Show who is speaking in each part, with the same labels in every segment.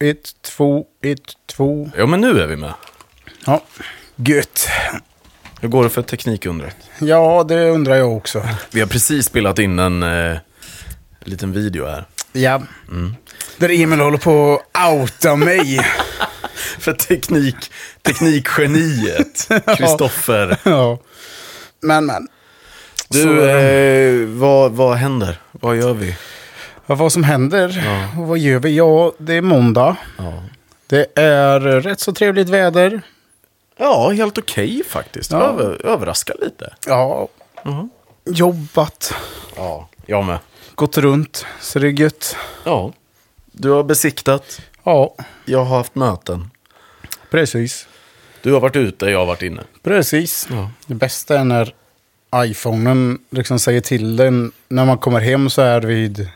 Speaker 1: ett, två, ett, två.
Speaker 2: Ja, men nu är vi med.
Speaker 1: Ja, gött.
Speaker 2: Hur går det för teknikundret?
Speaker 1: Ja, det undrar jag också.
Speaker 2: Vi har precis spelat in en eh, liten video här.
Speaker 1: Ja. Där Emil håller på att outa mig.
Speaker 2: För teknik, teknikgeniet, Kristoffer.
Speaker 1: ja. Men, men.
Speaker 2: Du, eh, vad, vad händer? Vad gör vi?
Speaker 1: Ja, vad som händer och vad gör vi? Ja, det är måndag.
Speaker 2: Ja,
Speaker 1: Det är rätt så trevligt väder.
Speaker 2: ja helt okej faktiskt.
Speaker 1: Ja.
Speaker 2: Över, överraskar lite.
Speaker 1: Ja. Jobbat.
Speaker 2: Ja, jag med.
Speaker 1: Gått runt. Så det är gött.
Speaker 2: Ja. Du har besiktat,
Speaker 1: Ja,
Speaker 2: jag har haft möten.
Speaker 1: precis.
Speaker 2: Du har varit ute, jag har varit inne.
Speaker 1: Precis.
Speaker 2: Ja.
Speaker 1: Det bästa är när iPhonen liksom säger till den när man kommer hem så här vid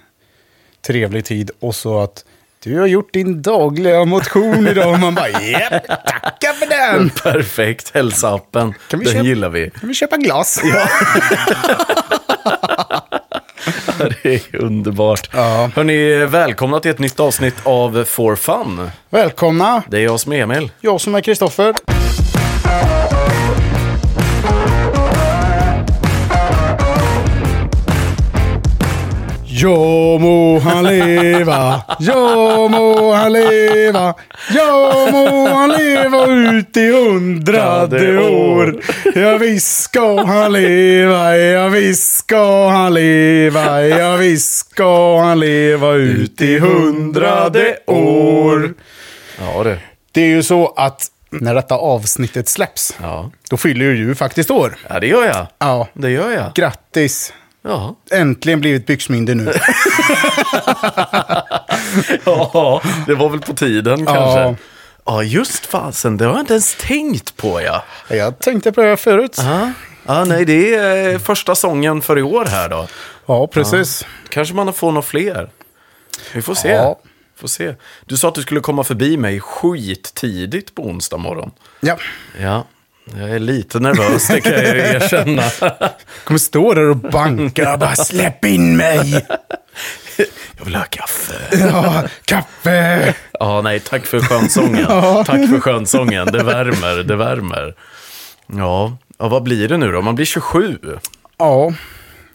Speaker 1: trevlig tid och så att du har gjort din dagliga motion idag och man bara japp, tacka för den.
Speaker 2: Perfekt, hälsaappen.
Speaker 1: Kan vi
Speaker 2: Den
Speaker 1: köpa-
Speaker 2: gillar vi.
Speaker 1: Kan vi köpa glas?
Speaker 2: Det är underbart.
Speaker 1: Ja.
Speaker 2: Hörni, välkomna till ett nytt avsnitt av For Fun.
Speaker 1: Välkomna,
Speaker 2: Det är jag som är Emil.
Speaker 1: jag som är Kristoffer. Ja må han leva, ja må han leva, ja må han leva ut i hundrade år. Ja visst ska han leva, ja visst ska han leva, ja visst ska han leva ut i hundrade år.
Speaker 2: Ja, det.
Speaker 1: Det är ju så att när detta avsnittet släpps,
Speaker 2: Ja.
Speaker 1: då fyller ju du faktiskt år.
Speaker 2: ja, det gör jag.
Speaker 1: Ja.
Speaker 2: Det gör jag.
Speaker 1: Grattis!
Speaker 2: Ja.
Speaker 1: Äntligen blivit byxmyndig nu.
Speaker 2: ja, det var väl på tiden
Speaker 1: Ja.
Speaker 2: kanske. Ja, just fasen. Det har jag inte ens tänkt på, ja.
Speaker 1: Jag tänkte på det här förut.
Speaker 2: Ja, ja nej, det är eh, första sången för i år här då.
Speaker 1: Ja, precis.
Speaker 2: Kanske man får några fler. Vi får se.
Speaker 1: Ja.
Speaker 2: Får se. Du sa att du skulle komma förbi mig skittidigt på onsdag morgon.
Speaker 1: Ja.
Speaker 2: Ja, jag är lite nervös, det kan jag ju erkänna.
Speaker 1: Kommer stå där och banka och bara släpp in mig!
Speaker 2: Jag vill ha kaffe.
Speaker 1: Ja, kaffe!
Speaker 2: Ja, nej, tack för skönsången. Tack för skönsången, det värmer, det värmer. Ja, ja vad blir det nu då? Man blir 27.
Speaker 1: Ja,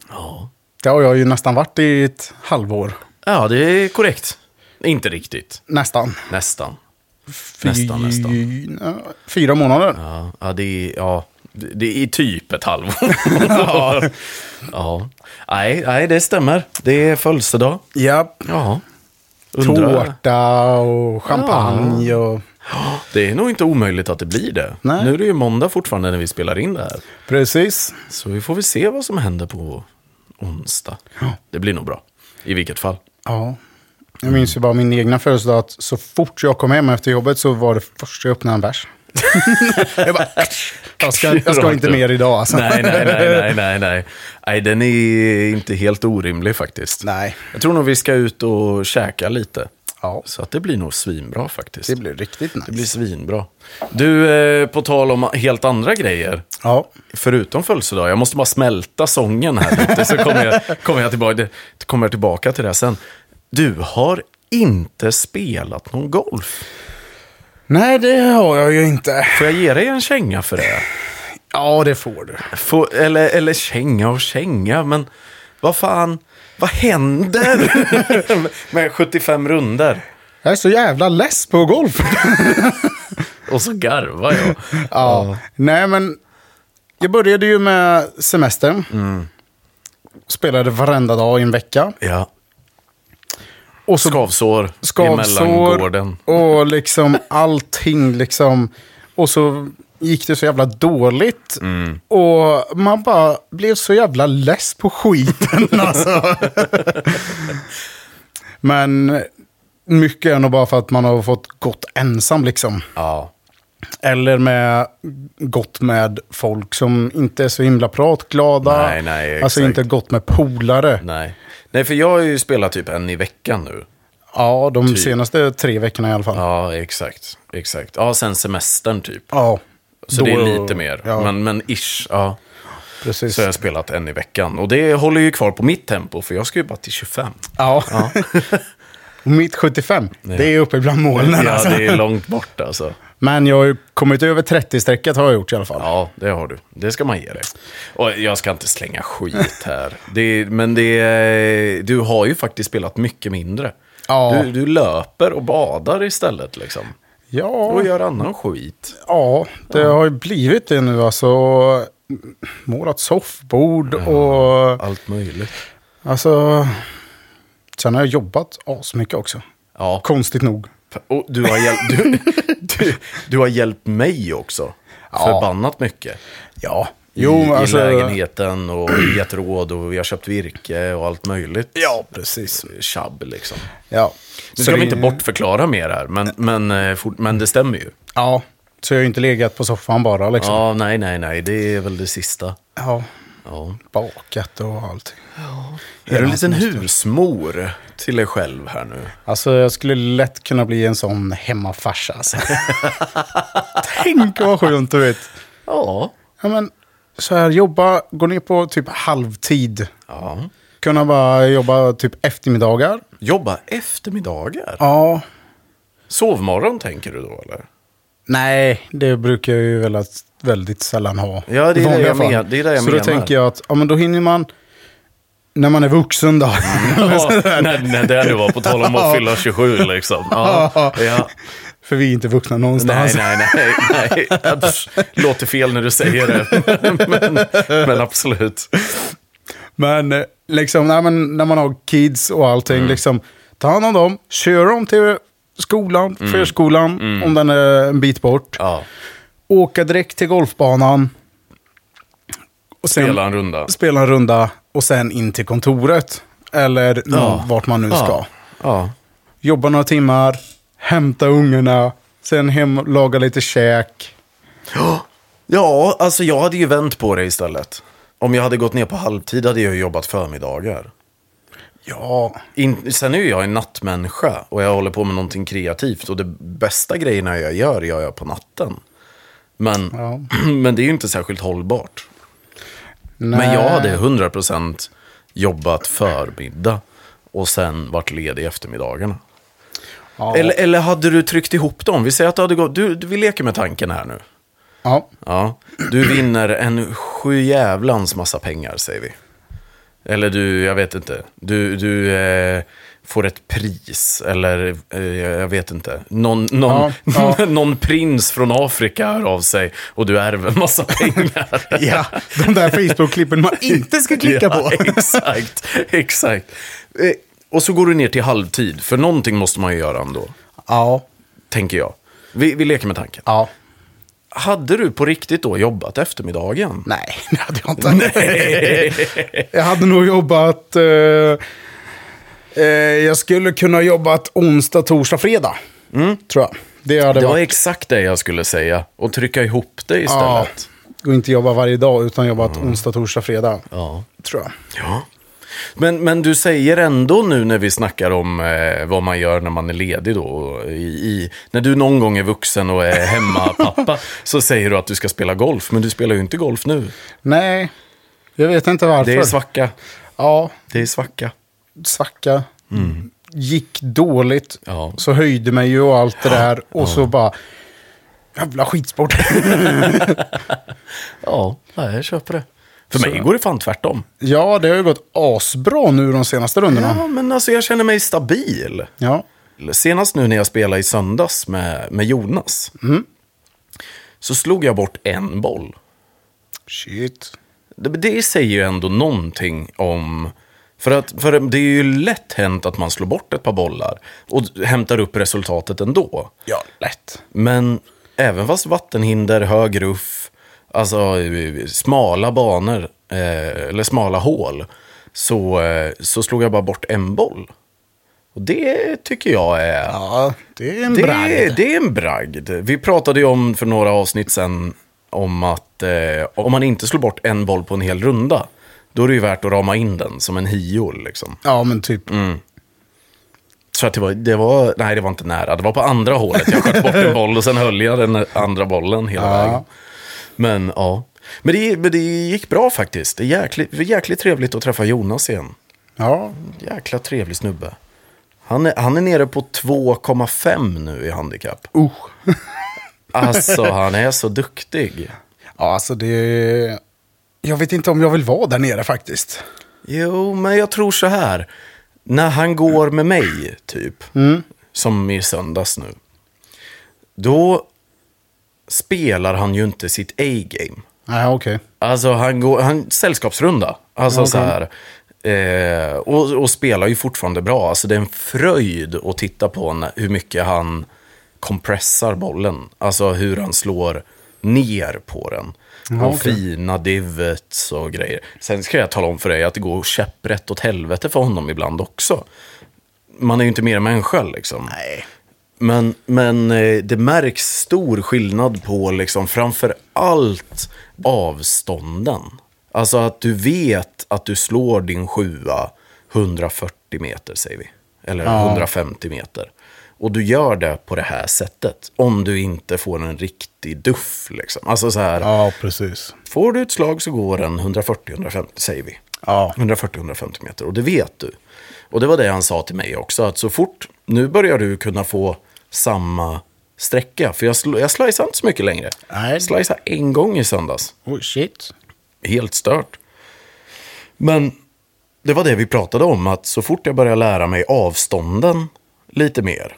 Speaker 2: Ja,
Speaker 1: det har jag ju nästan varit i ett halvår.
Speaker 2: ja det är korrekt. Inte riktigt,
Speaker 1: Nästan.
Speaker 2: nästan.
Speaker 1: Fy-
Speaker 2: Nästan, nästan.
Speaker 1: Fyra månader.
Speaker 2: Ja, ja, det, är, ja det det är typ ett halvår. ja. ja. Nej, nej, det stämmer. Det är födelsedag.
Speaker 1: Ja.
Speaker 2: Ja.
Speaker 1: Tårta och champagne och...
Speaker 2: Det är nog inte omöjligt att det blir det.
Speaker 1: Nej.
Speaker 2: Nu är det ju måndag fortfarande när vi spelar in det här.
Speaker 1: Precis.
Speaker 2: Så vi får väl se vad som händer på onsdag. Det blir nog bra. I vilket fall.
Speaker 1: Ja. Jag minns ju bara min egna födelsedag att så fort jag kom hem efter jobbet så var det första jag öppnade en bärs. jag bara, jag ska, jag ska inte mer idag alltså.
Speaker 2: Nej, nej, nej, nej, nej, nej. Nej, den är inte helt orimlig faktiskt.
Speaker 1: Nej.
Speaker 2: Jag tror nog vi ska ut och käka lite.
Speaker 1: Ja,
Speaker 2: Så att det blir nog svinbra faktiskt.
Speaker 1: det blir riktigt nice.
Speaker 2: Det blir svinbra. Du, eh, på tal om helt andra grejer.
Speaker 1: Ja.
Speaker 2: Förutom födelsedag, jag måste bara smälta sången här lite, så kommer jag, kommer jag, tillbaka, det- kommer jag tillbaka till det här sen. Du har inte spelat någon golf.
Speaker 1: Nej, det har jag ju inte.
Speaker 2: Får jag ge dig en känga för det?
Speaker 1: Ja, det får du.
Speaker 2: Får, eller, eller känga och känga, men vad fan, vad händer med 75 runder?
Speaker 1: Jag är så jävla less på golf.
Speaker 2: Och så garvar jag.
Speaker 1: ja. Nej, men jag började ju med semestern. Spelade varenda dag i en vecka.
Speaker 2: Ja.
Speaker 1: Och så
Speaker 2: Skavsår, i mellangården.
Speaker 1: skavsår och liksom allting liksom. Och så gick det så jävla dåligt.
Speaker 2: Mm.
Speaker 1: Och man bara blev så jävla less på skiten alltså. Men mycket är nog bara för att man har fått gått ensam liksom.
Speaker 2: Ja.
Speaker 1: Eller med gått med folk som inte är så himla pratglada.
Speaker 2: Nej, nej,
Speaker 1: alltså
Speaker 2: exakt.
Speaker 1: inte gått med polare.
Speaker 2: Nej. Nej, för jag har ju spelat typ en i veckan nu.
Speaker 1: Ja, de senaste tre veckorna i alla fall.
Speaker 2: Typ. Ja, exakt. exakt. Ja, sen semestern typ.
Speaker 1: Ja.
Speaker 2: Så det är lite mer.
Speaker 1: Ja,
Speaker 2: Men, men ish. Ja.
Speaker 1: precis.
Speaker 2: Så har jag spelat en i veckan. Och det håller ju kvar på mitt tempo, för jag ska ju bara till 25.
Speaker 1: Ja. Och mitt 75, det är uppe bland molnen
Speaker 2: Ja,
Speaker 1: alltså.
Speaker 2: det är långt bort alltså.
Speaker 1: Men jag har ju kommit över 30-strecket har jag gjort i alla fall.
Speaker 2: Ja, det har du. Det ska man ge dig. Och jag ska inte slänga skit här. Det, är- men det, är- du har ju faktiskt spelat mycket mindre.
Speaker 1: Ja.
Speaker 2: Du, du löper och badar istället liksom.
Speaker 1: Ja,
Speaker 2: Och gör annan skit.
Speaker 1: ja det har ju blivit det nu alltså. Målat soffbord och...
Speaker 2: Allt möjligt.
Speaker 1: Alltså... Sen har jag jobbat asmycket också.
Speaker 2: Ja.
Speaker 1: Konstigt nog.
Speaker 2: Och du har, hjälpt, du, du, du har hjälpt mig också. Förbannat mycket.
Speaker 1: Ja.
Speaker 2: I,
Speaker 1: Jo,
Speaker 2: I
Speaker 1: alltså...
Speaker 2: lägenheten och gett råd och vi har köpt virke och allt möjligt.
Speaker 1: Ja, precis.
Speaker 2: Tjabb liksom.
Speaker 1: Ja.
Speaker 2: Nu
Speaker 1: Så
Speaker 2: ska vi
Speaker 1: det-
Speaker 2: inte bortförklara mer här, men, men, eh, fort- men det stämmer ju.
Speaker 1: Ja. Så jag har ju inte legat på soffan bara liksom.
Speaker 2: Ja, nej, nej, nej, det är väl det sista.
Speaker 1: Ja.
Speaker 2: Ja.
Speaker 1: Bakat och allting.
Speaker 2: Är du en liten husmor till dig själv här nu?
Speaker 1: Alltså jag skulle lätt kunna bli en sån hemmafarsa. Alltså. Tänk vad skönt du vet.
Speaker 2: Ja.
Speaker 1: Ja, men, så här, jobba, gå ner på typ halvtid.
Speaker 2: ja.
Speaker 1: Kunna bara jobba typ eftermiddagar.
Speaker 2: Jobba eftermiddagar?
Speaker 1: Ja.
Speaker 2: Sovmorgon tänker du då, eller?
Speaker 1: Nej, det brukar jag ju väldigt, väldigt sällan ha.
Speaker 2: Ja, det
Speaker 1: i
Speaker 2: är det
Speaker 1: vanliga
Speaker 2: jag
Speaker 1: fall.
Speaker 2: men- det är det jag
Speaker 1: så
Speaker 2: menar.
Speaker 1: då tänker jag att ja, men då hinner man, när man är vuxen då.
Speaker 2: Ja, när, när det nu var, på tal om att fylla 27 liksom. Ja, ja.
Speaker 1: För vi är inte vuxna
Speaker 2: Nej,
Speaker 1: någonstans.
Speaker 2: nej, nej. nej. Ja, pff, Låter fel när du säger det, men, men absolut.
Speaker 1: Men eh, liksom, nej, men när man har kids och allting,
Speaker 2: Mm.
Speaker 1: liksom, ta hand om dem, kör dem till skolan, förskolan, om den är en bit bort.
Speaker 2: Mm. Ja,
Speaker 1: Åka direkt till golfbanan. Och sen
Speaker 2: spela en runda.
Speaker 1: spela en runda och sen in till kontoret. Eller nå- vart man nu ska.
Speaker 2: Ja. ja.
Speaker 1: Jobba några timmar, hämta ungarna, sen hem, laga lite käk.
Speaker 2: Ja, alltså jag hade ju vänt på det istället. Om jag hade gått ner på halvtid hade jag ju jobbat förmiddagar.
Speaker 1: Ja,
Speaker 2: In, sen är ju jag en nattmänniska och jag håller på med någonting kreativt och det bästa grejerna jag gör gör jag på natten. Men,
Speaker 1: Ja.
Speaker 2: men det är ju inte särskilt hållbart.
Speaker 1: nej.
Speaker 2: Men jag
Speaker 1: Eh.
Speaker 2: hade 100% jobbat förmiddag och sen varit ledig i eftermiddagarna.
Speaker 1: Ja.
Speaker 2: Eller, eller hade du tryckt ihop dem? Vi säger att du hade gått... Du, du, vi leker med tanken här nu.
Speaker 1: Ja,
Speaker 2: Ja, du vinner en sjujävlans massa pengar, säger vi. Eller du, jag vet inte. Du, du eh, får ett pris, eller eh, jag vet inte. Någon, någon,
Speaker 1: Ja,
Speaker 2: någon prins från Afrika hör av sig och du ärver en massa pengar.
Speaker 1: ja, de där Facebook-klippen man inte ska klicka på.
Speaker 2: Ja, exakt, exakt. Eh, och så går du ner till halvtid, för någonting måste man ju göra ändå,
Speaker 1: Ja,
Speaker 2: tänker jag. Vi, vi leker med tanken.
Speaker 1: ja.
Speaker 2: Hade du på riktigt då jobbat eftermiddagen?
Speaker 1: Nej, det hade jag inte. Jag hade nog jobbat... Eh, eh, jag skulle kunna ha jobbat onsdag, torsdag, fredag. Tror jag. Det hade
Speaker 2: Mm. Det var
Speaker 1: varit...
Speaker 2: exakt det jag skulle säga. Och trycka ihop det
Speaker 1: Ja,
Speaker 2: istället.
Speaker 1: och inte jobba varje dag, utan jobbat onsdag, torsdag, fredag.
Speaker 2: Ja.
Speaker 1: Tror jag.
Speaker 2: ja. Men, men du säger ändå nu när vi snackar om eh, vad man gör när man är ledig då. och I, i, när du någon gång är vuxen och är hemmapappa så säger du att du ska spela golf. Men du spelar ju inte golf nu.
Speaker 1: Nej, jag vet inte varför.
Speaker 2: Det är svacka.
Speaker 1: Ja,
Speaker 2: Det är svacka.
Speaker 1: svacka. Gick dåligt.
Speaker 2: Mm. Ja.
Speaker 1: Så höjde mig ju och allt det där. Och så bara... Jävla skitsport.
Speaker 2: Ja, nej, jag köper det. För mig går det fan tvärtom.
Speaker 1: ja, det har ju gått asbra nu de senaste rundorna.
Speaker 2: Ja, men alltså jag känner mig stabil.
Speaker 1: ja.
Speaker 2: Senast nu när jag spelade i söndags med, med Jonas. Så slog jag bort en boll.
Speaker 1: Shit.
Speaker 2: Det, det säger ju ändå någonting om... För, att, för det är ju lätt hänt att man slår bort ett par bollar och hämtar upp resultatet ändå.
Speaker 1: Ja, lätt.
Speaker 2: Men även fast vattenhinder, hög ruff, alltså eh, smala banor eh, eller smala hål så, eh, så slog jag bara bort en boll. Och det tycker jag är...
Speaker 1: Ja, det är en
Speaker 2: Det,
Speaker 1: bragd.
Speaker 2: är- det är en bragd. Vi pratade ju om för några avsnitt sen om att eh, om man inte slår bort en boll på en hel runda, då är det ju värt att rama in den som en hio. Liksom.
Speaker 1: Ja, men typ.
Speaker 2: Så att det, var, det var, nej det var inte nära, det var på andra hålet. Jag sköt bort en boll och sen höll jag den andra bollen hela
Speaker 1: Ja.
Speaker 2: vägen. Men ja, men det, men det gick bra faktiskt. Det är jäkligt, jäkligt trevligt att träffa Jonas igen.
Speaker 1: Ja,
Speaker 2: Jäkla trevlig snubbe. Han är, han är nere på 2,5 nu i handikapp.
Speaker 1: Usch.
Speaker 2: Alltså, han är så duktig.
Speaker 1: Ja, alltså det... Jag vet inte om jag vill vara där nere faktiskt.
Speaker 2: Jo, men jag tror så här. När han går med mig, typ, som i söndags nu, då spelar han ju inte sitt A-game.
Speaker 1: Nej, okej.
Speaker 2: Alltså han går, han, sällskapsrunda. Alltså
Speaker 1: Okej.
Speaker 2: så här. Eh, och, och spelar ju fortfarande bra. Alltså det är en fröjd att titta på när, hur mycket han compressar bollen. Alltså hur han slår ner på den. och
Speaker 1: okej.
Speaker 2: fina divots och grejer. Sen ska jag tala om för dig att det går käpprätt åt helvete för honom ibland också. Man är ju inte mer människa liksom.
Speaker 1: Nej.
Speaker 2: Men, men eh, det märks stor skillnad på liksom framför allt avstånden. Alltså att du vet att du slår din sjua 140 meter, säger vi. Eller 150 meter. Och du gör det på det här sättet. Om du inte får en riktig duff. Liksom. Alltså så här,
Speaker 1: Ja, precis.
Speaker 2: får du ett slag så går den 140-150, säger vi.
Speaker 1: Ja.
Speaker 2: 140-150 meter. Och det vet du. Och det var det han sa till mig också. Att så fort, nu börjar du kunna få samma sträcka. För jag, sl- jag slicear inte så mycket längre.
Speaker 1: Nej.
Speaker 2: Slicear en gång i söndags.
Speaker 1: Oh, shit.
Speaker 2: Helt stört. Men det var det vi pratade om. Att så fort jag börjar lära mig avstånden lite mer.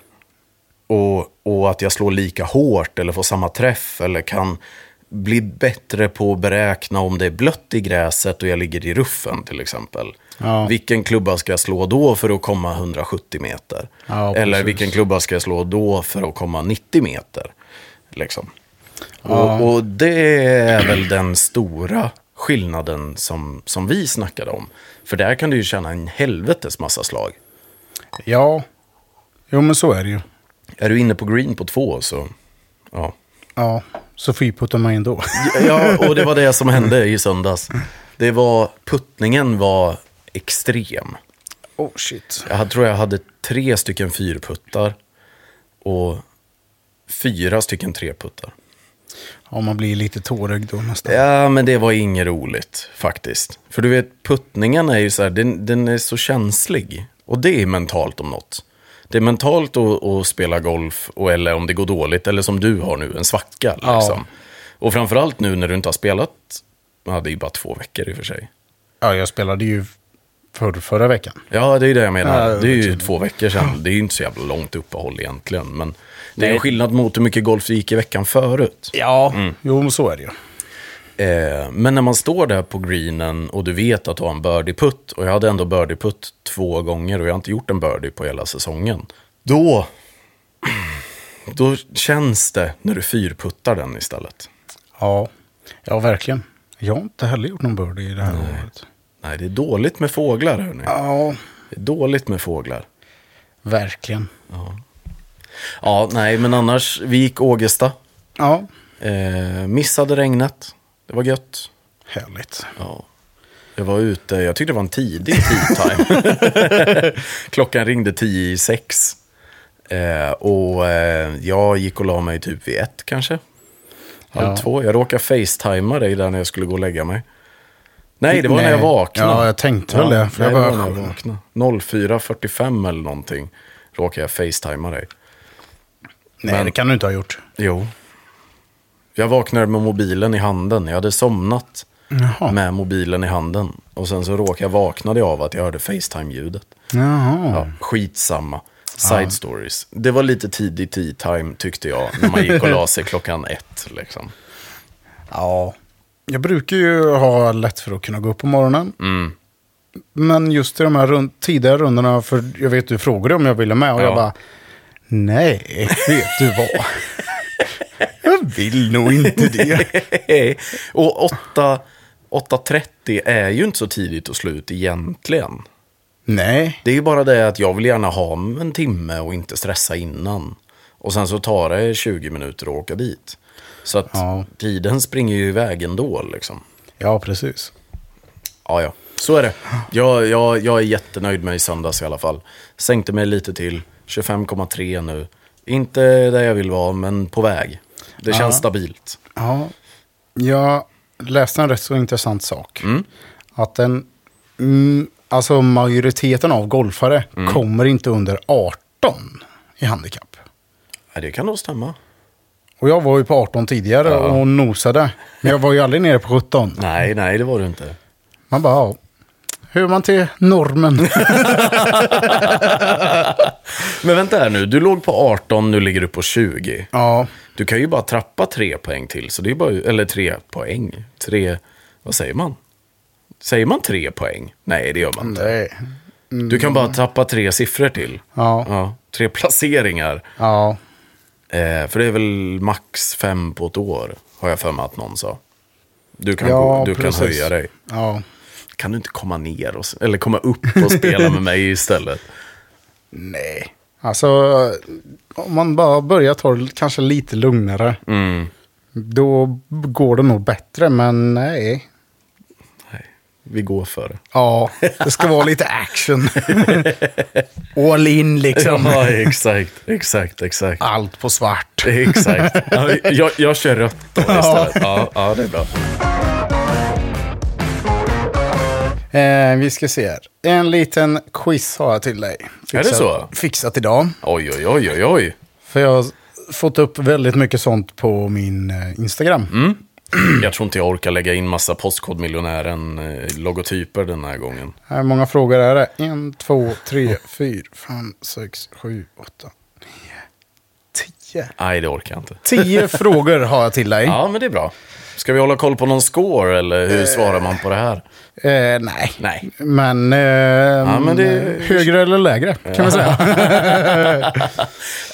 Speaker 2: Och, och att jag slår lika hårt eller får samma träff. Eller kan bli bättre på att beräkna om det är blött i gräset och jag ligger i ruffen till exempel.
Speaker 1: Ja.
Speaker 2: Vilken klubba ska jag slå då för att komma 170 meter?
Speaker 1: Ja,
Speaker 2: eller
Speaker 1: precis.
Speaker 2: vilken klubba ska jag slå då för att komma 90 meter? Liksom. Och, och det är väl den stora skillnaden som, som vi snackade om. För där kan du ju känna en helvetes massa slag.
Speaker 1: Ja. Jo, men så är det ju.
Speaker 2: Är du inne på green på två så... Ja.
Speaker 1: Ja, så fyrputtar man ju ändå.
Speaker 2: ja, och det var det som hände i söndags. Det var, puttningen var extrem.
Speaker 1: Oh, shit.
Speaker 2: Jag hade- tror jag hade tre stycken fyrputtar och fyra stycken treputtar.
Speaker 1: Ja, man blir lite tårögd då nästan.
Speaker 2: Ja, men det var inget roligt faktiskt. För du vet, puttningen är ju så här, den, den är så känslig. Och det är mentalt om något. Det är mentalt att, att spela golf, och, eller om det går dåligt, eller som du har nu, en svacka.
Speaker 1: Ja.
Speaker 2: Liksom. Och framförallt nu när du inte har spelat, ja, det är ju bara två veckor i och för sig.
Speaker 1: Ja, jag spelade ju för, förra veckan.
Speaker 2: Ja, det är ju det jag menar.
Speaker 1: Ja,
Speaker 2: det är ju två veckor sedan. Det är ju inte så jävla långt uppehåll egentligen. Men det är en
Speaker 1: Nej.
Speaker 2: skillnad mot hur mycket golf det gick i veckan förut.
Speaker 1: Ja. Mm. Jo, men så är det ju.
Speaker 2: Eh, men när man står där på greenen och du vet att du har en birdie-putt, och jag hade ändå birdie-putt två gånger och jag har inte gjort en birdie på hela säsongen. Då, då känns det när du fyrputtar den istället.
Speaker 1: Ja. Ja, verkligen. Jag har inte heller gjort någon birdie i det här året.
Speaker 2: Nej, det är dåligt med fåglar hörni.
Speaker 1: Ja,
Speaker 2: Det är dåligt med fåglar.
Speaker 1: verkligen.
Speaker 2: Ja, nej, men annars, vi gick Ågesta.
Speaker 1: Ja,
Speaker 2: Eh, missade regnet. Det var gött.
Speaker 1: härligt.
Speaker 2: Ja. Jag var ute, jag tyckte det var en tidig tea time. Klockan ringde tio i sex. Eh, och eh, jag gick och la mig typ vid ett kanske. Halv
Speaker 1: Ja.
Speaker 2: två. Jag råkade facetima dig där när jag skulle gå och lägga mig. Nej, det var när
Speaker 1: Nej.
Speaker 2: jag vaknade.
Speaker 1: Ja, jag tänkte väl det, för
Speaker 2: nej,
Speaker 1: jag
Speaker 2: det
Speaker 1: bara-
Speaker 2: var när jag vaknade. 04.45 eller någonting råkade jag facetima dig.
Speaker 1: Nej,
Speaker 2: Men-
Speaker 1: det kan du inte ha gjort.
Speaker 2: Jo. Jag vaknade med mobilen i handen. Jag hade somnat
Speaker 1: Jaha.
Speaker 2: med mobilen i handen. Och sen så råkade jag vaknade jag av att jag hörde Facetime-ljudet.
Speaker 1: Jaha.
Speaker 2: Ja, skitsamma. Side stories. Det var lite tidig tea time tyckte jag. När man gick och la sig klockan ett. Liksom.
Speaker 1: Ja. Jag brukar ju ha lätt för att kunna gå upp på morgonen.
Speaker 2: Mm.
Speaker 1: Men just i de här rund- tidigare rundorna, för jag vet du frågade om jag ville med och
Speaker 2: Ja.
Speaker 1: jag bara, nej, vet du vad? jag vill nog inte det.
Speaker 2: och åtta- 8.30 är ju inte så tidigt att sluta egentligen.
Speaker 1: nej,
Speaker 2: Det är ju bara det att jag vill gärna ha en timme och inte stressa innan. Och sen så tar det 20 minuter att åka dit. Så att
Speaker 1: Ja.
Speaker 2: tiden springer ju iväg ändå liksom.
Speaker 1: ja precis.
Speaker 2: Ja, ja. Så är det. Jag, jag, jag är jättenöjd med i söndags i alla fall. Sänkte mig lite till. 25,3 nu. Inte där jag vill vara, men på väg. Det känns stabilt.
Speaker 1: Ja, jag läste en rätt så intressant sak. Att en mm, alltså majoriteten av golfare kommer inte under 18 i handikapp.
Speaker 2: Ja, det kan nog stämma.
Speaker 1: Och jag var ju på 18 tidigare och nosade. Men jag var ju aldrig nere på 17.
Speaker 2: Nej, nej, det var det inte.
Speaker 1: Man bara, ja. Hur är man till normen?
Speaker 2: Men vänta här nu, du låg på 18, nu ligger du på 20.
Speaker 1: ja.
Speaker 2: Du kan ju bara trappa tre poäng till, så det är bara, eller tre poäng. Tre, vad säger man? Säger man tre poäng? Nej, det gör man inte.
Speaker 1: Nej.
Speaker 2: Du kan bara trappa tre siffror till.
Speaker 1: Ja.
Speaker 2: tre placeringar.
Speaker 1: Ja.
Speaker 2: Eh, för det är väl max fem på ett år, har jag för mig att någon sa. Du kan,
Speaker 1: ja
Speaker 2: gå, du kan
Speaker 1: precis.
Speaker 2: höja dig.
Speaker 1: Ja.
Speaker 2: Kan du inte komma ner och, s- eller komma upp och spela med mig istället?
Speaker 1: Nej. Alltså, om man bara börjar ta det kanske lite lugnare. Då går det nog bättre, men nej.
Speaker 2: Nej, vi går för det.
Speaker 1: Ja, det ska vara lite action. All in liksom.
Speaker 2: Ja, exakt, exakt, exakt.
Speaker 1: Allt på svart.
Speaker 2: Exakt. Ja, Jag, jag kör rött då istället. Ja, ja, det är bra.
Speaker 1: Eh, vi ska se här. En liten quiz har jag till dig.
Speaker 2: Är det så?
Speaker 1: Fixat idag.
Speaker 2: Oj, oj, oj, oj, oj.
Speaker 1: För jag har fått upp väldigt mycket sånt på min eh, Instagram.
Speaker 2: Mm. Jag tror inte jag orkar lägga in massa Postkodmiljonären-logotyper den här gången.
Speaker 1: Här, många frågor är det? En, två, tre, fyra, fem, sex, sju, åtta, nio, tio.
Speaker 2: Nej, det orkar jag inte.
Speaker 1: Tio frågor har jag till dig.
Speaker 2: Ja, men det är bra. Ska vi hålla koll på någon score, eller hur svarar man på det här?
Speaker 1: Eh, nej.
Speaker 2: Nej.
Speaker 1: Men, eh,
Speaker 2: men det-
Speaker 1: högre eller lägre kan man säga.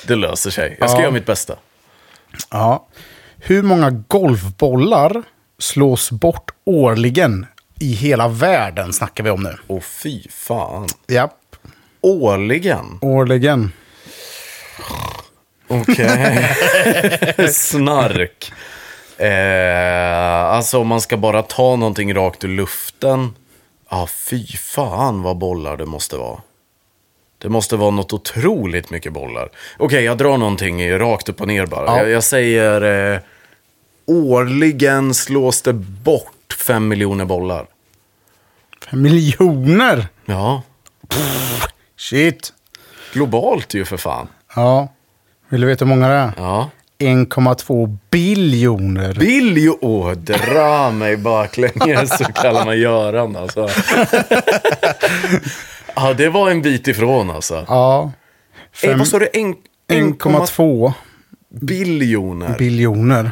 Speaker 2: Det löser sig. Jag ska
Speaker 1: Ja.
Speaker 2: göra mitt bästa.
Speaker 1: ja. Hur många golfbollar slås bort årligen i hela världen snackar vi om nu?
Speaker 2: Åh, fy fan.
Speaker 1: Ja,
Speaker 2: Årligen?
Speaker 1: årligen.
Speaker 2: Okej. Snark. Eh, alltså om man ska bara ta någonting rakt ur luften. Ja, ah, fy fan vad bollar det måste vara. Det måste vara något otroligt mycket bollar. Okej, jag drar någonting rakt upp och ner bara. Jag, jag säger eh, årligen slås det bort fem miljoner bollar.
Speaker 1: Miljoner!
Speaker 2: Ja,
Speaker 1: Shit!
Speaker 2: globalt ju för fan.
Speaker 1: Ja. Vill du veta hur många det är?
Speaker 2: Ja.
Speaker 1: 1,2 biljoner.
Speaker 2: Biljo... Åh, dra mig baklänges så kallar man Göran alltså. ja, det var en bit ifrån alltså.
Speaker 1: ja.
Speaker 2: Eh,
Speaker 1: Fem-
Speaker 2: vad sa du? En- 1,2
Speaker 1: 1,2
Speaker 2: biljoner?
Speaker 1: biljoner.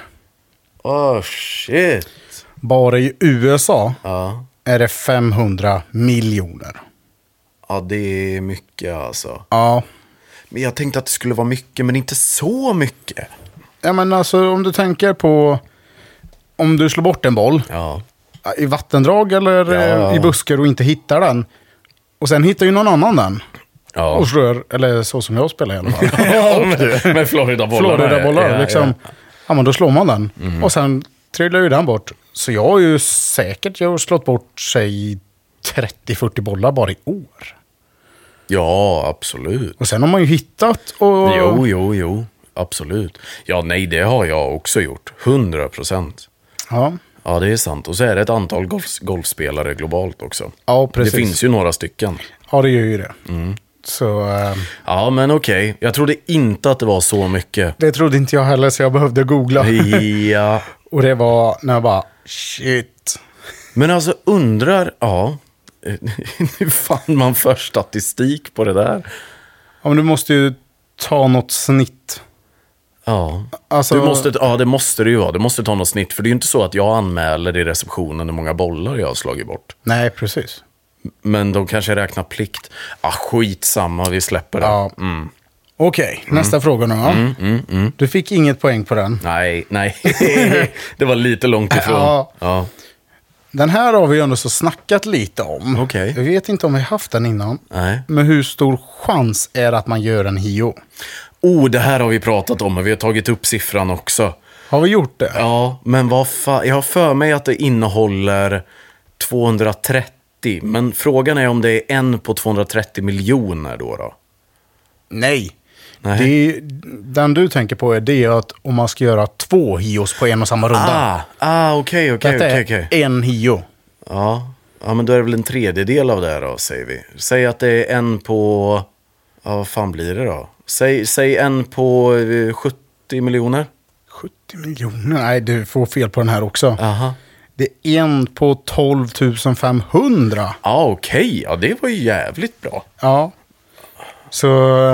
Speaker 2: Åh, shit.
Speaker 1: Bara i USA
Speaker 2: Ja.
Speaker 1: är det 500 miljoner.
Speaker 2: ja, det är mycket alltså.
Speaker 1: Ja.
Speaker 2: Men jag tänkte att det skulle vara mycket, men inte så mycket.
Speaker 1: ja, men alltså om du tänker på om du slår bort en boll
Speaker 2: Ja,
Speaker 1: i vattendrag eller
Speaker 2: Ja.
Speaker 1: eh, i buskar och inte hittar den. Och sen hittar ju någon annan den.
Speaker 2: ja.
Speaker 1: Och slår, eller så som jag spelar i alla fall.
Speaker 2: med, med Florida-bollarna.
Speaker 1: Florida-bollar.
Speaker 2: ja, ja. Mm.
Speaker 1: liksom. ja. men då slår man den. Och sen trillar ju den bort. Så jag har ju säkert jag har slått bort sig 30-40 bollar bara i år.
Speaker 2: Ja, absolut.
Speaker 1: Och sen har man ju hittat och...
Speaker 2: Jo, jo, jo. Absolut. Ja, nej, det har jag också gjort. 100 procent.
Speaker 1: Ja,
Speaker 2: Ja, det är sant. Och så är det ett antal golf, golfspelare globalt också.
Speaker 1: ja precis.
Speaker 2: Det finns Mm. ju några stycken.
Speaker 1: Ja, det gör ju det. Så eh,
Speaker 2: Ja, men okej. Jag trodde inte att det var så mycket.
Speaker 1: det trodde inte jag heller, så jag behövde googla.
Speaker 2: Ja.
Speaker 1: Och det var när jag bara, shit.
Speaker 2: Men alltså undrar, ja. Hur fan man för statistik på det där?
Speaker 1: Ja, men du måste ju ta något snitt.
Speaker 2: Ja.
Speaker 1: Alltså,
Speaker 2: Du måste, ja, det måste det ju vara. Du måste ta något snitt. För det är ju inte så att jag anmäler i receptionen hur många bollar jag har slagit bort.
Speaker 1: Nej, precis.
Speaker 2: Men de kanske räknar plikt. Ah, skitsamma, vi släpper det.
Speaker 1: Ja.
Speaker 2: mm.
Speaker 1: Okej, nästa fråga nu. Ja. Du fick inget poäng på den.
Speaker 2: Nej, nej. det var lite långt ifrån.
Speaker 1: Ja.
Speaker 2: ja.
Speaker 1: Den här har vi ju ändå så snackat lite om.
Speaker 2: Okej.
Speaker 1: Jag vet inte om vi haft den innan.
Speaker 2: Nej.
Speaker 1: Men hur stor chans är det att man gör en hio?
Speaker 2: Oh, det här har vi pratat om och vi har tagit upp siffran också.
Speaker 1: Har vi gjort det?
Speaker 2: Ja, men vad fan. Jag har för mig att det innehåller 230. Men frågan är om det är en på 230 miljoner då. då.
Speaker 1: Nej.
Speaker 2: Nej.
Speaker 1: Det är, den du tänker på är det att om man ska göra två hios på en och samma runda.
Speaker 2: Ah, ah okej, okej,
Speaker 1: Detta
Speaker 2: okej.
Speaker 1: är
Speaker 2: okej.
Speaker 1: en hio.
Speaker 2: Ja. Ja, men då är det väl en tredjedel av det här då, säger vi. Säg att det är en på... Ja, vad fan blir det då? Säg, säg en på eh, 70 miljoner.
Speaker 1: 70 miljoner? Nej, du får fel på den här också.
Speaker 2: Aha.
Speaker 1: Det är en på 12 500.
Speaker 2: Ja, ah, okej. Ja, det var ju jävligt bra.
Speaker 1: Ja. Så...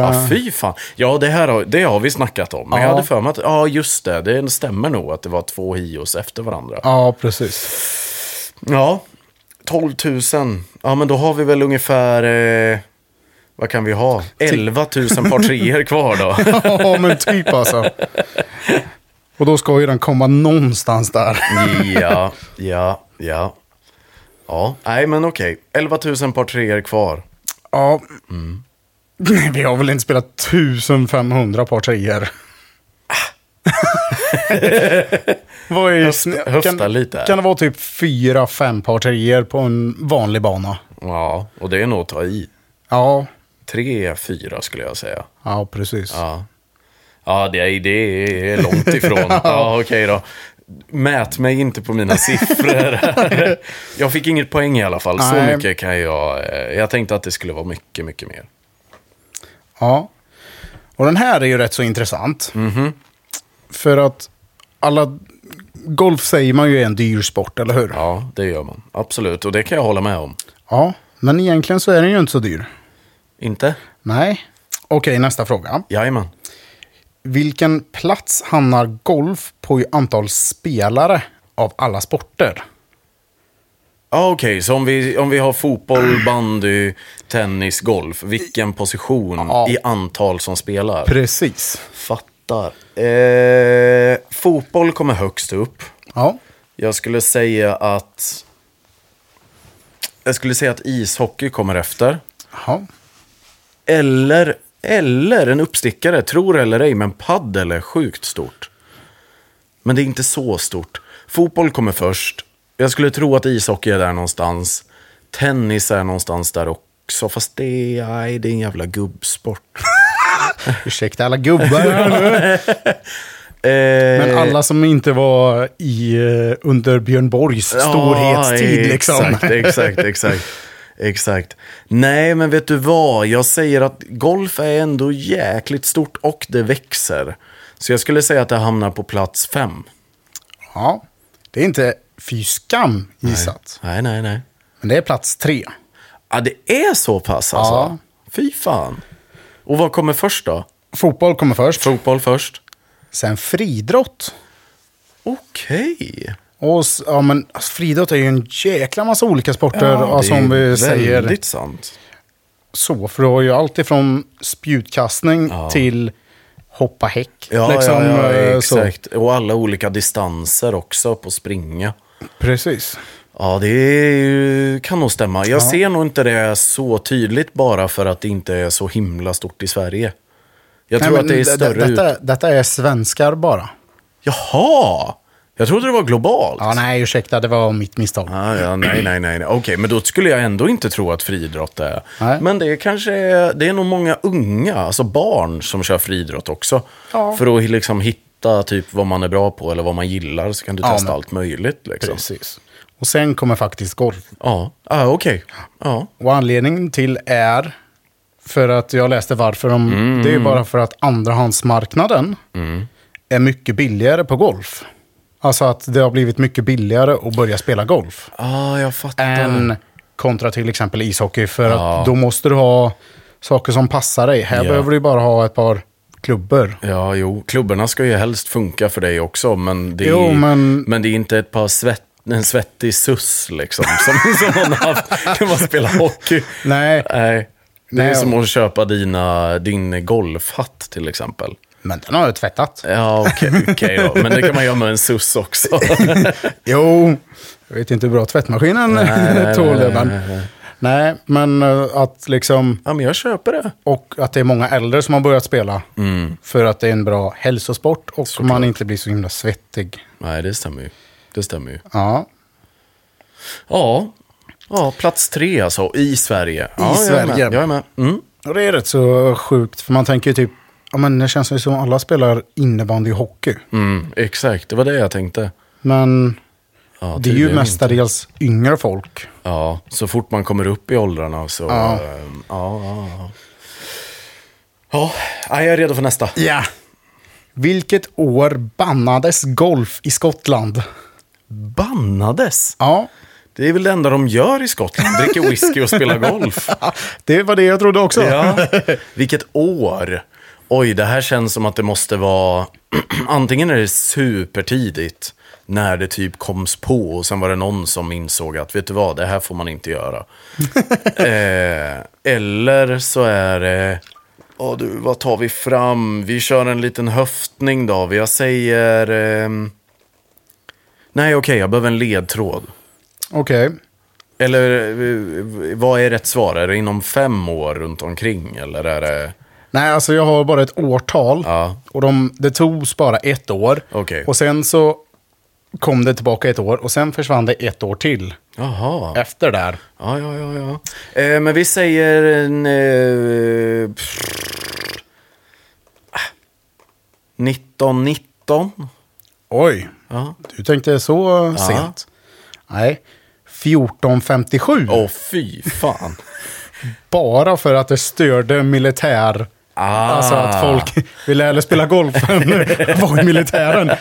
Speaker 2: Ja, fy fan. Ja, det här har, det har vi snackat om. Men jag
Speaker 1: Ja.
Speaker 2: hade för mig att, ja just det, det stämmer nog att det var två hios efter varandra.
Speaker 1: Ja, precis.
Speaker 2: Ja, 12 000. Ja, men då har vi väl ungefär, eh, vad kan vi ha? 11 000 par treor kvar då.
Speaker 1: Ja, men typ alltså. Och då ska ju den komma någonstans där.
Speaker 2: ja, ja, ja. Ja, nej men okej. 11 000 par treor kvar.
Speaker 1: Ja. Nej, Vi har väl inte spelat 1500 par treor. Vad är snö-
Speaker 2: höfta lite här.
Speaker 1: Kan det vara typ 4-5 par treor på en vanlig bana?
Speaker 2: Ja, och det är nog att ta i.
Speaker 1: Ja,
Speaker 2: Tre, fyra skulle jag säga.
Speaker 1: ja precis.
Speaker 2: Ja, ja det, är, det är långt ifrån. ja, okej då. Mät mig inte på mina siffror. jag fick inget poäng i alla fall. Så
Speaker 1: Nej.
Speaker 2: mycket kan jag... eh, Jag tänkte att det skulle vara mycket, mycket mer.
Speaker 1: Ja. Och den här är ju rätt så intressant.
Speaker 2: Mhm.
Speaker 1: För att alla... Golf säger man ju är en dyr sport, eller hur?
Speaker 2: Ja, det gör man. Absolut, och det kan jag hålla med om.
Speaker 1: Ja, men egentligen så är den ju inte så dyr.
Speaker 2: Inte?
Speaker 1: Nej. Okej, nästa fråga.
Speaker 2: Jajamän.
Speaker 1: Vilken plats hamnar golf på i antal spelare av alla sporter?
Speaker 2: Ja, okej, så om vi, om vi har fotboll, bandy, tennis, golf. Vilken position
Speaker 1: Ja.
Speaker 2: i antal som spelar?
Speaker 1: Precis.
Speaker 2: Fattar. Eh, fotboll kommer högst upp.
Speaker 1: Ja.
Speaker 2: Jag skulle säga att... Jag skulle säga att ishockey kommer efter.
Speaker 1: Jaha.
Speaker 2: Eller, eller en uppstickare, tror eller ej, men paddel är sjukt stort. Men det är inte så stort. Fotboll kommer först. Jag skulle tro att ishockey är där någonstans. Tennis är någonstans där också, fast det, nej, det är en jävla gubbsport.
Speaker 1: Ursäkta alla gubbar här nu.
Speaker 2: Eh,
Speaker 1: Men alla som inte var i, eh, under Björn Borgs storhetstid
Speaker 2: Ja,
Speaker 1: liksom.
Speaker 2: Exakt, exakt, exakt. exakt. Nej, men vet du vad? Jag säger att golf är ändå jäkligt stort och det växer. Så jag skulle säga att det hamnar på plats fem.
Speaker 1: Ja. Det är inte fy skam gissat.
Speaker 2: Nej, nej, nej.
Speaker 1: Men det är plats tre.
Speaker 2: Ja, det är så pass alltså.
Speaker 1: Ja.
Speaker 2: Fy fan. Och vad kommer först då?
Speaker 1: Fotboll kommer först.
Speaker 2: Fotboll först?
Speaker 1: Sen friidrott.
Speaker 2: Okej.
Speaker 1: Och s- ja, men alltså, friidrott är ju en jäkla massa olika sporter.
Speaker 2: Ja,
Speaker 1: alltså,
Speaker 2: det är
Speaker 1: om vi
Speaker 2: väldigt
Speaker 1: säger.
Speaker 2: sant.
Speaker 1: så. För du har ju allt ifrån spjutkastning till hoppa häck.
Speaker 2: Ja,
Speaker 1: liksom,
Speaker 2: ja, ja,
Speaker 1: eh, så.
Speaker 2: exakt. Och alla olika distanser också på springa.
Speaker 1: Precis.
Speaker 2: Ja, det är ju, kan nog stämma. Jag ser nog inte det så tydligt bara för att det inte är så himla stort i Sverige. Jag tror
Speaker 1: Nej,
Speaker 2: att det är
Speaker 1: men d-
Speaker 2: större
Speaker 1: d-
Speaker 2: ut...
Speaker 1: detta, detta är svenskar bara.
Speaker 2: Jaha! Jag trodde det var globalt.
Speaker 1: Ja, nej, ursäkta, det var mitt misstag.
Speaker 2: Ah, ja, nej, nej, nej. nej. Okej, men då skulle jag ändå inte tro att friidrott är...
Speaker 1: Nej.
Speaker 2: Men det är kanske är, det är nog många unga, alltså barn, som kör friidrott också.
Speaker 1: Ja.
Speaker 2: För att liksom hitta typ vad man är bra på eller vad man gillar så kan du
Speaker 1: Ja,
Speaker 2: testa
Speaker 1: men-
Speaker 2: allt möjligt. Liksom.
Speaker 1: Precis. Och sen kommer faktiskt golf.
Speaker 2: Ja, ah, okej. Ja.
Speaker 1: Och anledningen till är, för att jag läste varför, de,
Speaker 2: Mm.
Speaker 1: det är ju bara för att andrahandsmarknaden är mycket billigare på golf. Alltså att det har blivit mycket billigare att börja spela golf.
Speaker 2: Ah, jag fattar.
Speaker 1: än kontra till exempel ishockey. För
Speaker 2: Ja.
Speaker 1: att då måste du ha saker som passar dig. Här
Speaker 2: Ja.
Speaker 1: behöver du bara ha ett par klubbor.
Speaker 2: Ja, jo. Klubborna ska ju helst funka för dig också, men det är,
Speaker 1: Jo, men-
Speaker 2: det är inte ett par svett, en svettig suss liksom, som, som man har haft när man spelar hockey.
Speaker 1: Nej,
Speaker 2: Nej. Det är
Speaker 1: Nej,
Speaker 2: som att köpa dina, din golfhatt till exempel.
Speaker 1: men den har jag tvättat.
Speaker 2: Ja, okej okej då. Men det kan man göra med en suss också.
Speaker 1: Jo, jag vet inte hur bra tvättmaskinen
Speaker 2: nej,
Speaker 1: tål det.
Speaker 2: nej,
Speaker 1: Men...
Speaker 2: nej,
Speaker 1: Nej, men eh, att liksom...
Speaker 2: Ja, men jag köper det.
Speaker 1: Och att det är många äldre som har börjat spela.
Speaker 2: Mm.
Speaker 1: För att det är en bra hälsosport och man inte blir så himla svettig.
Speaker 2: Nej, det stämmer ju. Det stämmer ju.
Speaker 1: Ja,
Speaker 2: Ja, ja plats tre alltså, i Sverige. Ja, Jag är
Speaker 1: Sverige.
Speaker 2: med. Jag är med. Mm.
Speaker 1: och det är rätt så sjukt. För man tänker ju typ, ja men det känns ju som alla spelar innebandy och hockey.
Speaker 2: Mm, exakt, det var det jag tänkte.
Speaker 1: Men
Speaker 2: Ja,
Speaker 1: det är ju
Speaker 2: tydligen
Speaker 1: mestadels yngre folk.
Speaker 2: Ja, så fort man kommer upp i åldrarna så...
Speaker 1: Ja.
Speaker 2: Ja, ja, ja. ja. ja nej, jag är redo för nästa.
Speaker 1: Ja. Vilket år bannades golf i Skottland?
Speaker 2: Bannades?
Speaker 1: Ja,
Speaker 2: Det är väl det enda de gör i Skottland, dricker whisky och spelar golf.
Speaker 1: det var det jag trodde också.
Speaker 2: Ja. Vilket år! Oj, det här känns som att det måste vara... Antingen är det supertidigt, när det typ koms på och sen var det någon som insåg att vet du vad, det här får man inte göra. eh, eller så är det... Ja du, vad tar vi fram? Vi kör en liten höftning då. Jag säger... ehm, Nej, okej, jag behöver en ledtråd.
Speaker 1: Okej.
Speaker 2: Eller eh, vad är rätt svar? Är det inom fem år runt omkring? Eller är det...
Speaker 1: Nej, alltså jag har bara ett årtal.
Speaker 2: Ja.
Speaker 1: Och de, det togs bara ett år.
Speaker 2: Okej.
Speaker 1: Och sen så kom det tillbaka ett år och sen försvann det ett år till
Speaker 2: Jaha.
Speaker 1: efter där.
Speaker 2: Ja, ja, ja. ja. Eh, men vi säger en... Eh, pff, ah, 1919.
Speaker 1: Oj,
Speaker 2: Ja.
Speaker 1: du tänkte så sent? Nej, 1457.
Speaker 2: Åh, fy fan.
Speaker 1: Bara för att det störde militär...
Speaker 2: Ah.
Speaker 1: Alltså att folk ville hellre spela golf än vara i militären.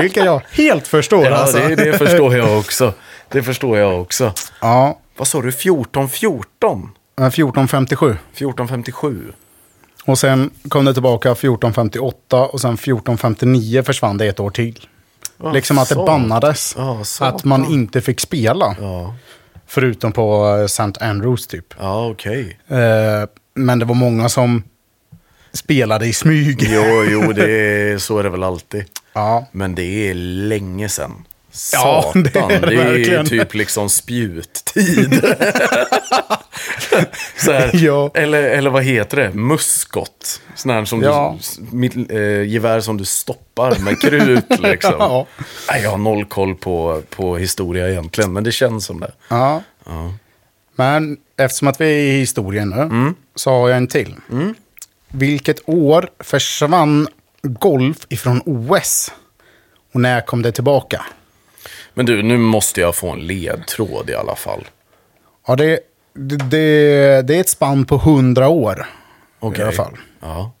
Speaker 1: Vilket jag helt förstår.
Speaker 2: Ja,
Speaker 1: alltså.
Speaker 2: det, det förstår jag också. Det förstår jag också.
Speaker 1: Ja,
Speaker 2: Vad sa du? 1414?
Speaker 1: men 1457.
Speaker 2: 1457?
Speaker 1: Och sen kom det tillbaka 1458 och sen 1459 försvann det ett år till.
Speaker 2: Ah,
Speaker 1: liksom att det
Speaker 2: satan.
Speaker 1: bannades.
Speaker 2: Ja,
Speaker 1: att
Speaker 2: satan.
Speaker 1: man inte fick spela.
Speaker 2: Ja,
Speaker 1: Förutom på eh, St. Andrews typ.
Speaker 2: ja okej.
Speaker 1: Eh, men det var många som spelade i smyg.
Speaker 2: Jo, jo, det är, så är det väl alltid.
Speaker 1: Ja.
Speaker 2: Men det är länge sedan.
Speaker 1: Ja,
Speaker 2: Satan,
Speaker 1: det är det
Speaker 2: det är ju
Speaker 1: verkligen.
Speaker 2: typ liksom spjuttid. så här,
Speaker 1: Ja.
Speaker 2: eller, eller vad heter det? Muskot. Sån här som
Speaker 1: Ja.
Speaker 2: du, s- mitt, eh, gevär som du stoppar med krut. Liksom.
Speaker 1: Ja.
Speaker 2: Nej, jag har noll koll på, på historia egentligen, men det känns som det.
Speaker 1: Ja. Men eftersom att vi är i historien nu
Speaker 2: Mm.
Speaker 1: så har jag en till. Vilket år försvann golf ifrån OS? Och när kom det tillbaka?
Speaker 2: Men du, nu måste jag få en ledtråd i alla fall.
Speaker 1: Ja, det, det, det, det är ett spann på 100 år. I alla fall.
Speaker 2: Ja.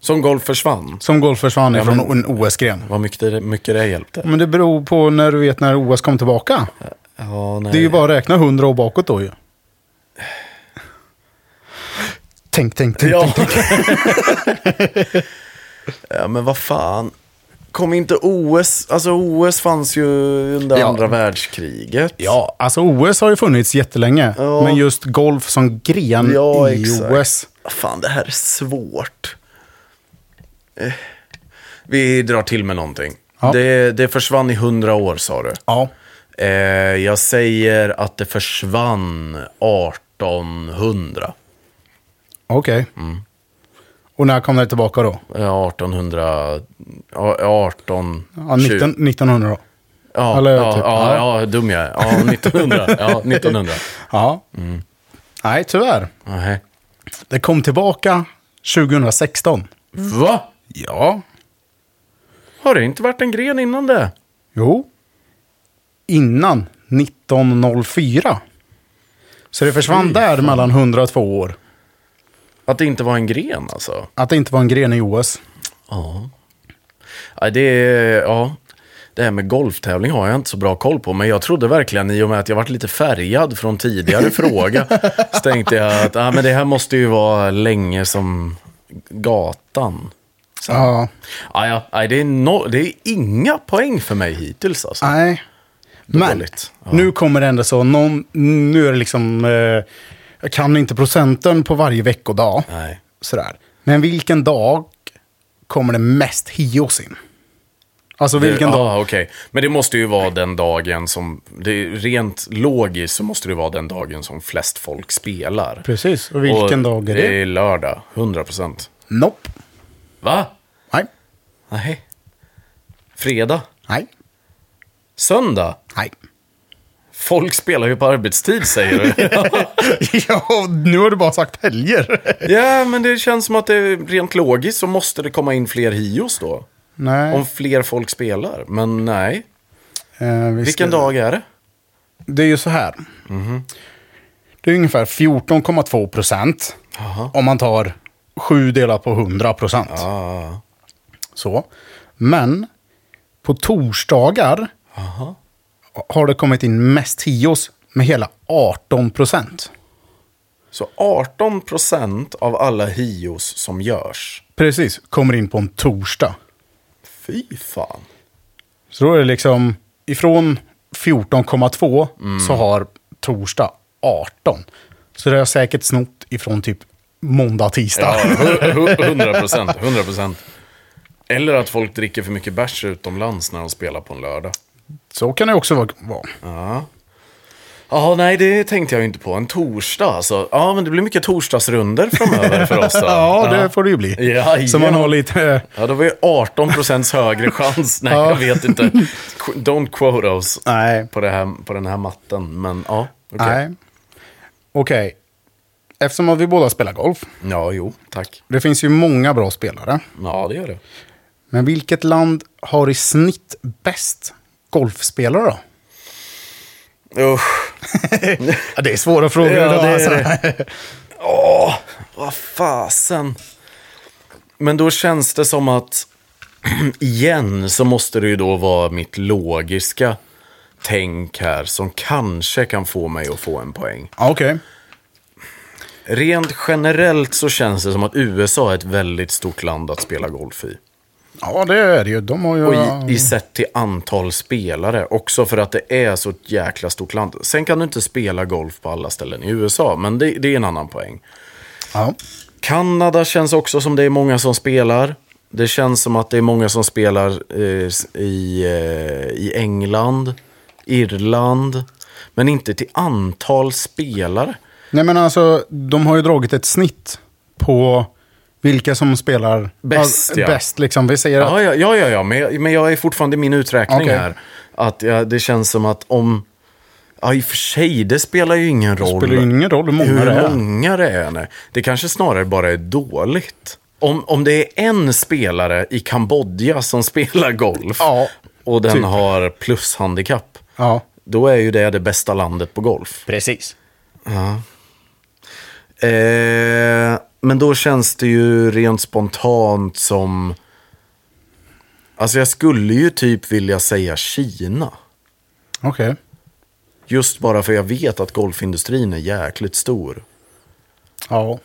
Speaker 2: Som golf försvann.
Speaker 1: Som golf försvann ifrån
Speaker 2: men-
Speaker 1: en OS-gren.
Speaker 2: Vad mycket det, mycket det hjälpte.
Speaker 1: Men det beror på när du vet när OS kom tillbaka.
Speaker 2: Eh, Ja, nej.
Speaker 1: Det är ju bara att räkna 100 år bakåt då ju. Tänk, tänk, tänk.
Speaker 2: Ja.
Speaker 1: tänk, tänk.
Speaker 2: ja, men vad fan. Kom inte OS, alltså OS fanns ju under
Speaker 1: Ja.
Speaker 2: andra världskriget.
Speaker 1: Ja, alltså OS har ju funnits jättelänge.
Speaker 2: Ja.
Speaker 1: Men just golf som gren
Speaker 2: Ja,
Speaker 1: mm, i
Speaker 2: exakt.
Speaker 1: OS.
Speaker 2: Fan, det här är svårt. Eh, Vi drar till med någonting.
Speaker 1: Ja.
Speaker 2: Det, det försvann i hundra år sa du.
Speaker 1: Ja.
Speaker 2: Eh, jag säger att det försvann 1800.
Speaker 1: Okej.
Speaker 2: Mm.
Speaker 1: Och när kom det tillbaka då?
Speaker 2: Eh, 1800... ja, 18...
Speaker 1: Ja, 19, 1900 då.
Speaker 2: Ja,
Speaker 1: Eller
Speaker 2: ja,
Speaker 1: typ,
Speaker 2: ja,
Speaker 1: ja.
Speaker 2: ja. dum jag är. Ja, 1900. Ja, 1900.
Speaker 1: Ja.
Speaker 2: Mm.
Speaker 1: Nej, tyvärr.
Speaker 2: Nej.
Speaker 1: Det kom tillbaka 2016.
Speaker 2: Va?
Speaker 1: Ja.
Speaker 2: Har det inte varit en gren innan det?
Speaker 1: Jo. Innan 1904. Så det försvann
Speaker 2: Fy
Speaker 1: där mellan 102 år.
Speaker 2: Att det inte var en gren alltså?
Speaker 1: Att det inte var en gren i OS.
Speaker 2: Ja. Nej, det är... Ja. Det här med golftävling har jag inte så bra koll på, men jag trodde verkligen i och med att jag varit lite färgad från tidigare fråga, så tänkte jag att ah, men det här måste ju vara länge som gatan. Så.
Speaker 1: Ja.
Speaker 2: Ah, ja, nej, det, är no, det är inga poäng för mig hittills alltså.
Speaker 1: Nej. Men
Speaker 2: Dåligt.
Speaker 1: nu kommer det ändå så. Någon, nu är det liksom... Eh, jag kan inte procenten på varje veckodag.
Speaker 2: Nej.
Speaker 1: Sådär. Men vilken dag kommer det mest hios in? Alltså vilken
Speaker 2: ja,
Speaker 1: dag?
Speaker 2: okej. Men det måste ju vara den dagen som, det är rent logiskt så måste det vara den dagen som flest folk spelar.
Speaker 1: Precis. Och vilken
Speaker 2: Och
Speaker 1: dag är det?
Speaker 2: Det är lördag, 100 procent.
Speaker 1: Nope.
Speaker 2: Va?
Speaker 1: Nej.
Speaker 2: Nej. Fredag?
Speaker 1: Nej.
Speaker 2: Söndag?
Speaker 1: Nej.
Speaker 2: Folk spelar ju på arbetstid säger du.
Speaker 1: ja, nu har du bara sagt helger.
Speaker 2: ja, men det känns som att det är rent logiskt så måste det komma in fler hios då.
Speaker 1: Nej.
Speaker 2: Om fler folk spelar, men nej.
Speaker 1: Eh, vi
Speaker 2: Vilken Mhm.
Speaker 1: ska-
Speaker 2: dag är det?
Speaker 1: Det är ju så här. Det är ungefär 14,2 procent.
Speaker 2: Jaha.
Speaker 1: Om man tar 7 delat på 100 procent.
Speaker 2: Ah,
Speaker 1: Så. Men på torsdagar
Speaker 2: aha.
Speaker 1: har det kommit in mest tios med hela 18 procent.
Speaker 2: Så 18 procent av alla hios som görs.
Speaker 1: Precis, kommer in på en torsdag.
Speaker 2: Fy fan.
Speaker 1: Så då är det liksom ifrån 14,2
Speaker 2: Mm.
Speaker 1: så har torsdag 18. Så det har jag säkert snott ifrån typ måndag, tisdag.
Speaker 2: Ja, hu- hu- 100 procent. 100 procent. Eller att folk dricker för mycket bärs utomlands när de spelar på en lördag.
Speaker 1: Så kan det också vara. vara.
Speaker 2: Ja. Ja, nej, det tänkte jag ju inte på. En torsdag alltså. Ja, men det blir mycket torsdagsrunder framöver för oss. Då.
Speaker 1: Ja, det får det ju bli.
Speaker 2: Ja,
Speaker 1: så man har lite...
Speaker 2: Ja, det var ju 18 procents högre chans. Nej, jag vet inte. Qu- Don't quote us
Speaker 1: Nej.
Speaker 2: på, det här, på den här matten. Men ja, okej.
Speaker 1: Nej. Okej. Eftersom att vi båda spelar golf.
Speaker 2: Ja, jo, tack.
Speaker 1: Det finns ju många bra spelare.
Speaker 2: Ja, det gör det.
Speaker 1: Men vilket land har i snitt bäst golfspelare då?
Speaker 2: Usch.
Speaker 1: Ja, det är svåra frågor
Speaker 2: Ja,
Speaker 1: idag.
Speaker 2: det är
Speaker 1: alltså.
Speaker 2: Åh, vad fasen. Men då känns det som att, igen, så måste det ju då vara mitt logiska tänk här som kanske kan få mig att få en poäng.
Speaker 1: Ja, Okej.
Speaker 2: Rent generellt så känns det som att USA är ett väldigt stort land att spela golf i.
Speaker 1: Ja, det är det ju. De har ju...
Speaker 2: Och i, i sett till antal spelare, också för att det är så ett jäkla stort land. Sen kan du inte spela golf på alla ställen i USA, men det, det är en annan poäng.
Speaker 1: Ja.
Speaker 2: Kanada känns också som det är många som spelar. Det känns som att det är många som spelar eh, s- i, eh, i England, Irland, men inte till antal spelare.
Speaker 1: Nej, men alltså, de har ju dragit ett snitt på vilka som spelar
Speaker 2: Bäst, ja.
Speaker 1: bäst liksom. Vi säger att...
Speaker 2: Ja, ja, ja, ja, ja. Men, jag- men jag är fortfarande i min uträkning
Speaker 1: Okej.
Speaker 2: här. Att ja, det känns som att om... Ja, i och för sig, det spelar ju ingen roll.
Speaker 1: Det spelar ju ingen roll hur många det
Speaker 2: Hur
Speaker 1: är.
Speaker 2: många det är? Nej. Det kanske snarare bara är dåligt. Om, om det är en spelare i Kambodja som spelar golf
Speaker 1: Ja,
Speaker 2: och den
Speaker 1: typ.
Speaker 2: har plushandikapp,
Speaker 1: Ja.
Speaker 2: då är ju det det bästa landet på golf.
Speaker 1: Precis.
Speaker 2: Eh, men då känns det ju rent spontant som... Alltså jag skulle ju typ vilja säga Kina.
Speaker 1: Okej.
Speaker 2: Just bara för jag vet att golfindustrin är jäkligt stor.
Speaker 1: Ja. I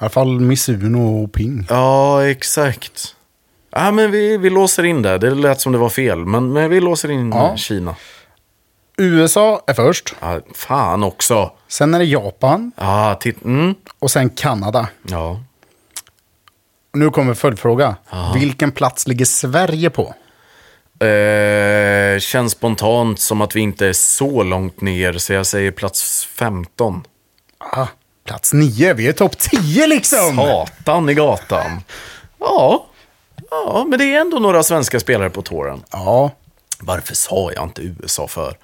Speaker 1: alla fall Mizuno och Ping.
Speaker 2: Ja, exakt. Ja, men vi, vi låser in det. Det lät som det var fel, men, men vi låser in
Speaker 1: Ja.
Speaker 2: eh, Kina.
Speaker 1: USA är först.
Speaker 2: Ja, fan också.
Speaker 1: Sen är det Japan.
Speaker 2: Ja, titt, mm.
Speaker 1: Och sen Kanada.
Speaker 2: ja.
Speaker 1: Nu kommer följdfråga. Vilken plats ligger Sverige på?
Speaker 2: Eh, känns spontant som att vi inte är så långt ner, så jag säger plats 15.
Speaker 1: Ah, plats nio. Vi är topp 10 liksom.
Speaker 2: Satan i gatan. Ja. ja, men det är ändå några svenska spelare på tåren.
Speaker 1: Ja.
Speaker 2: Varför sa jag inte USA för?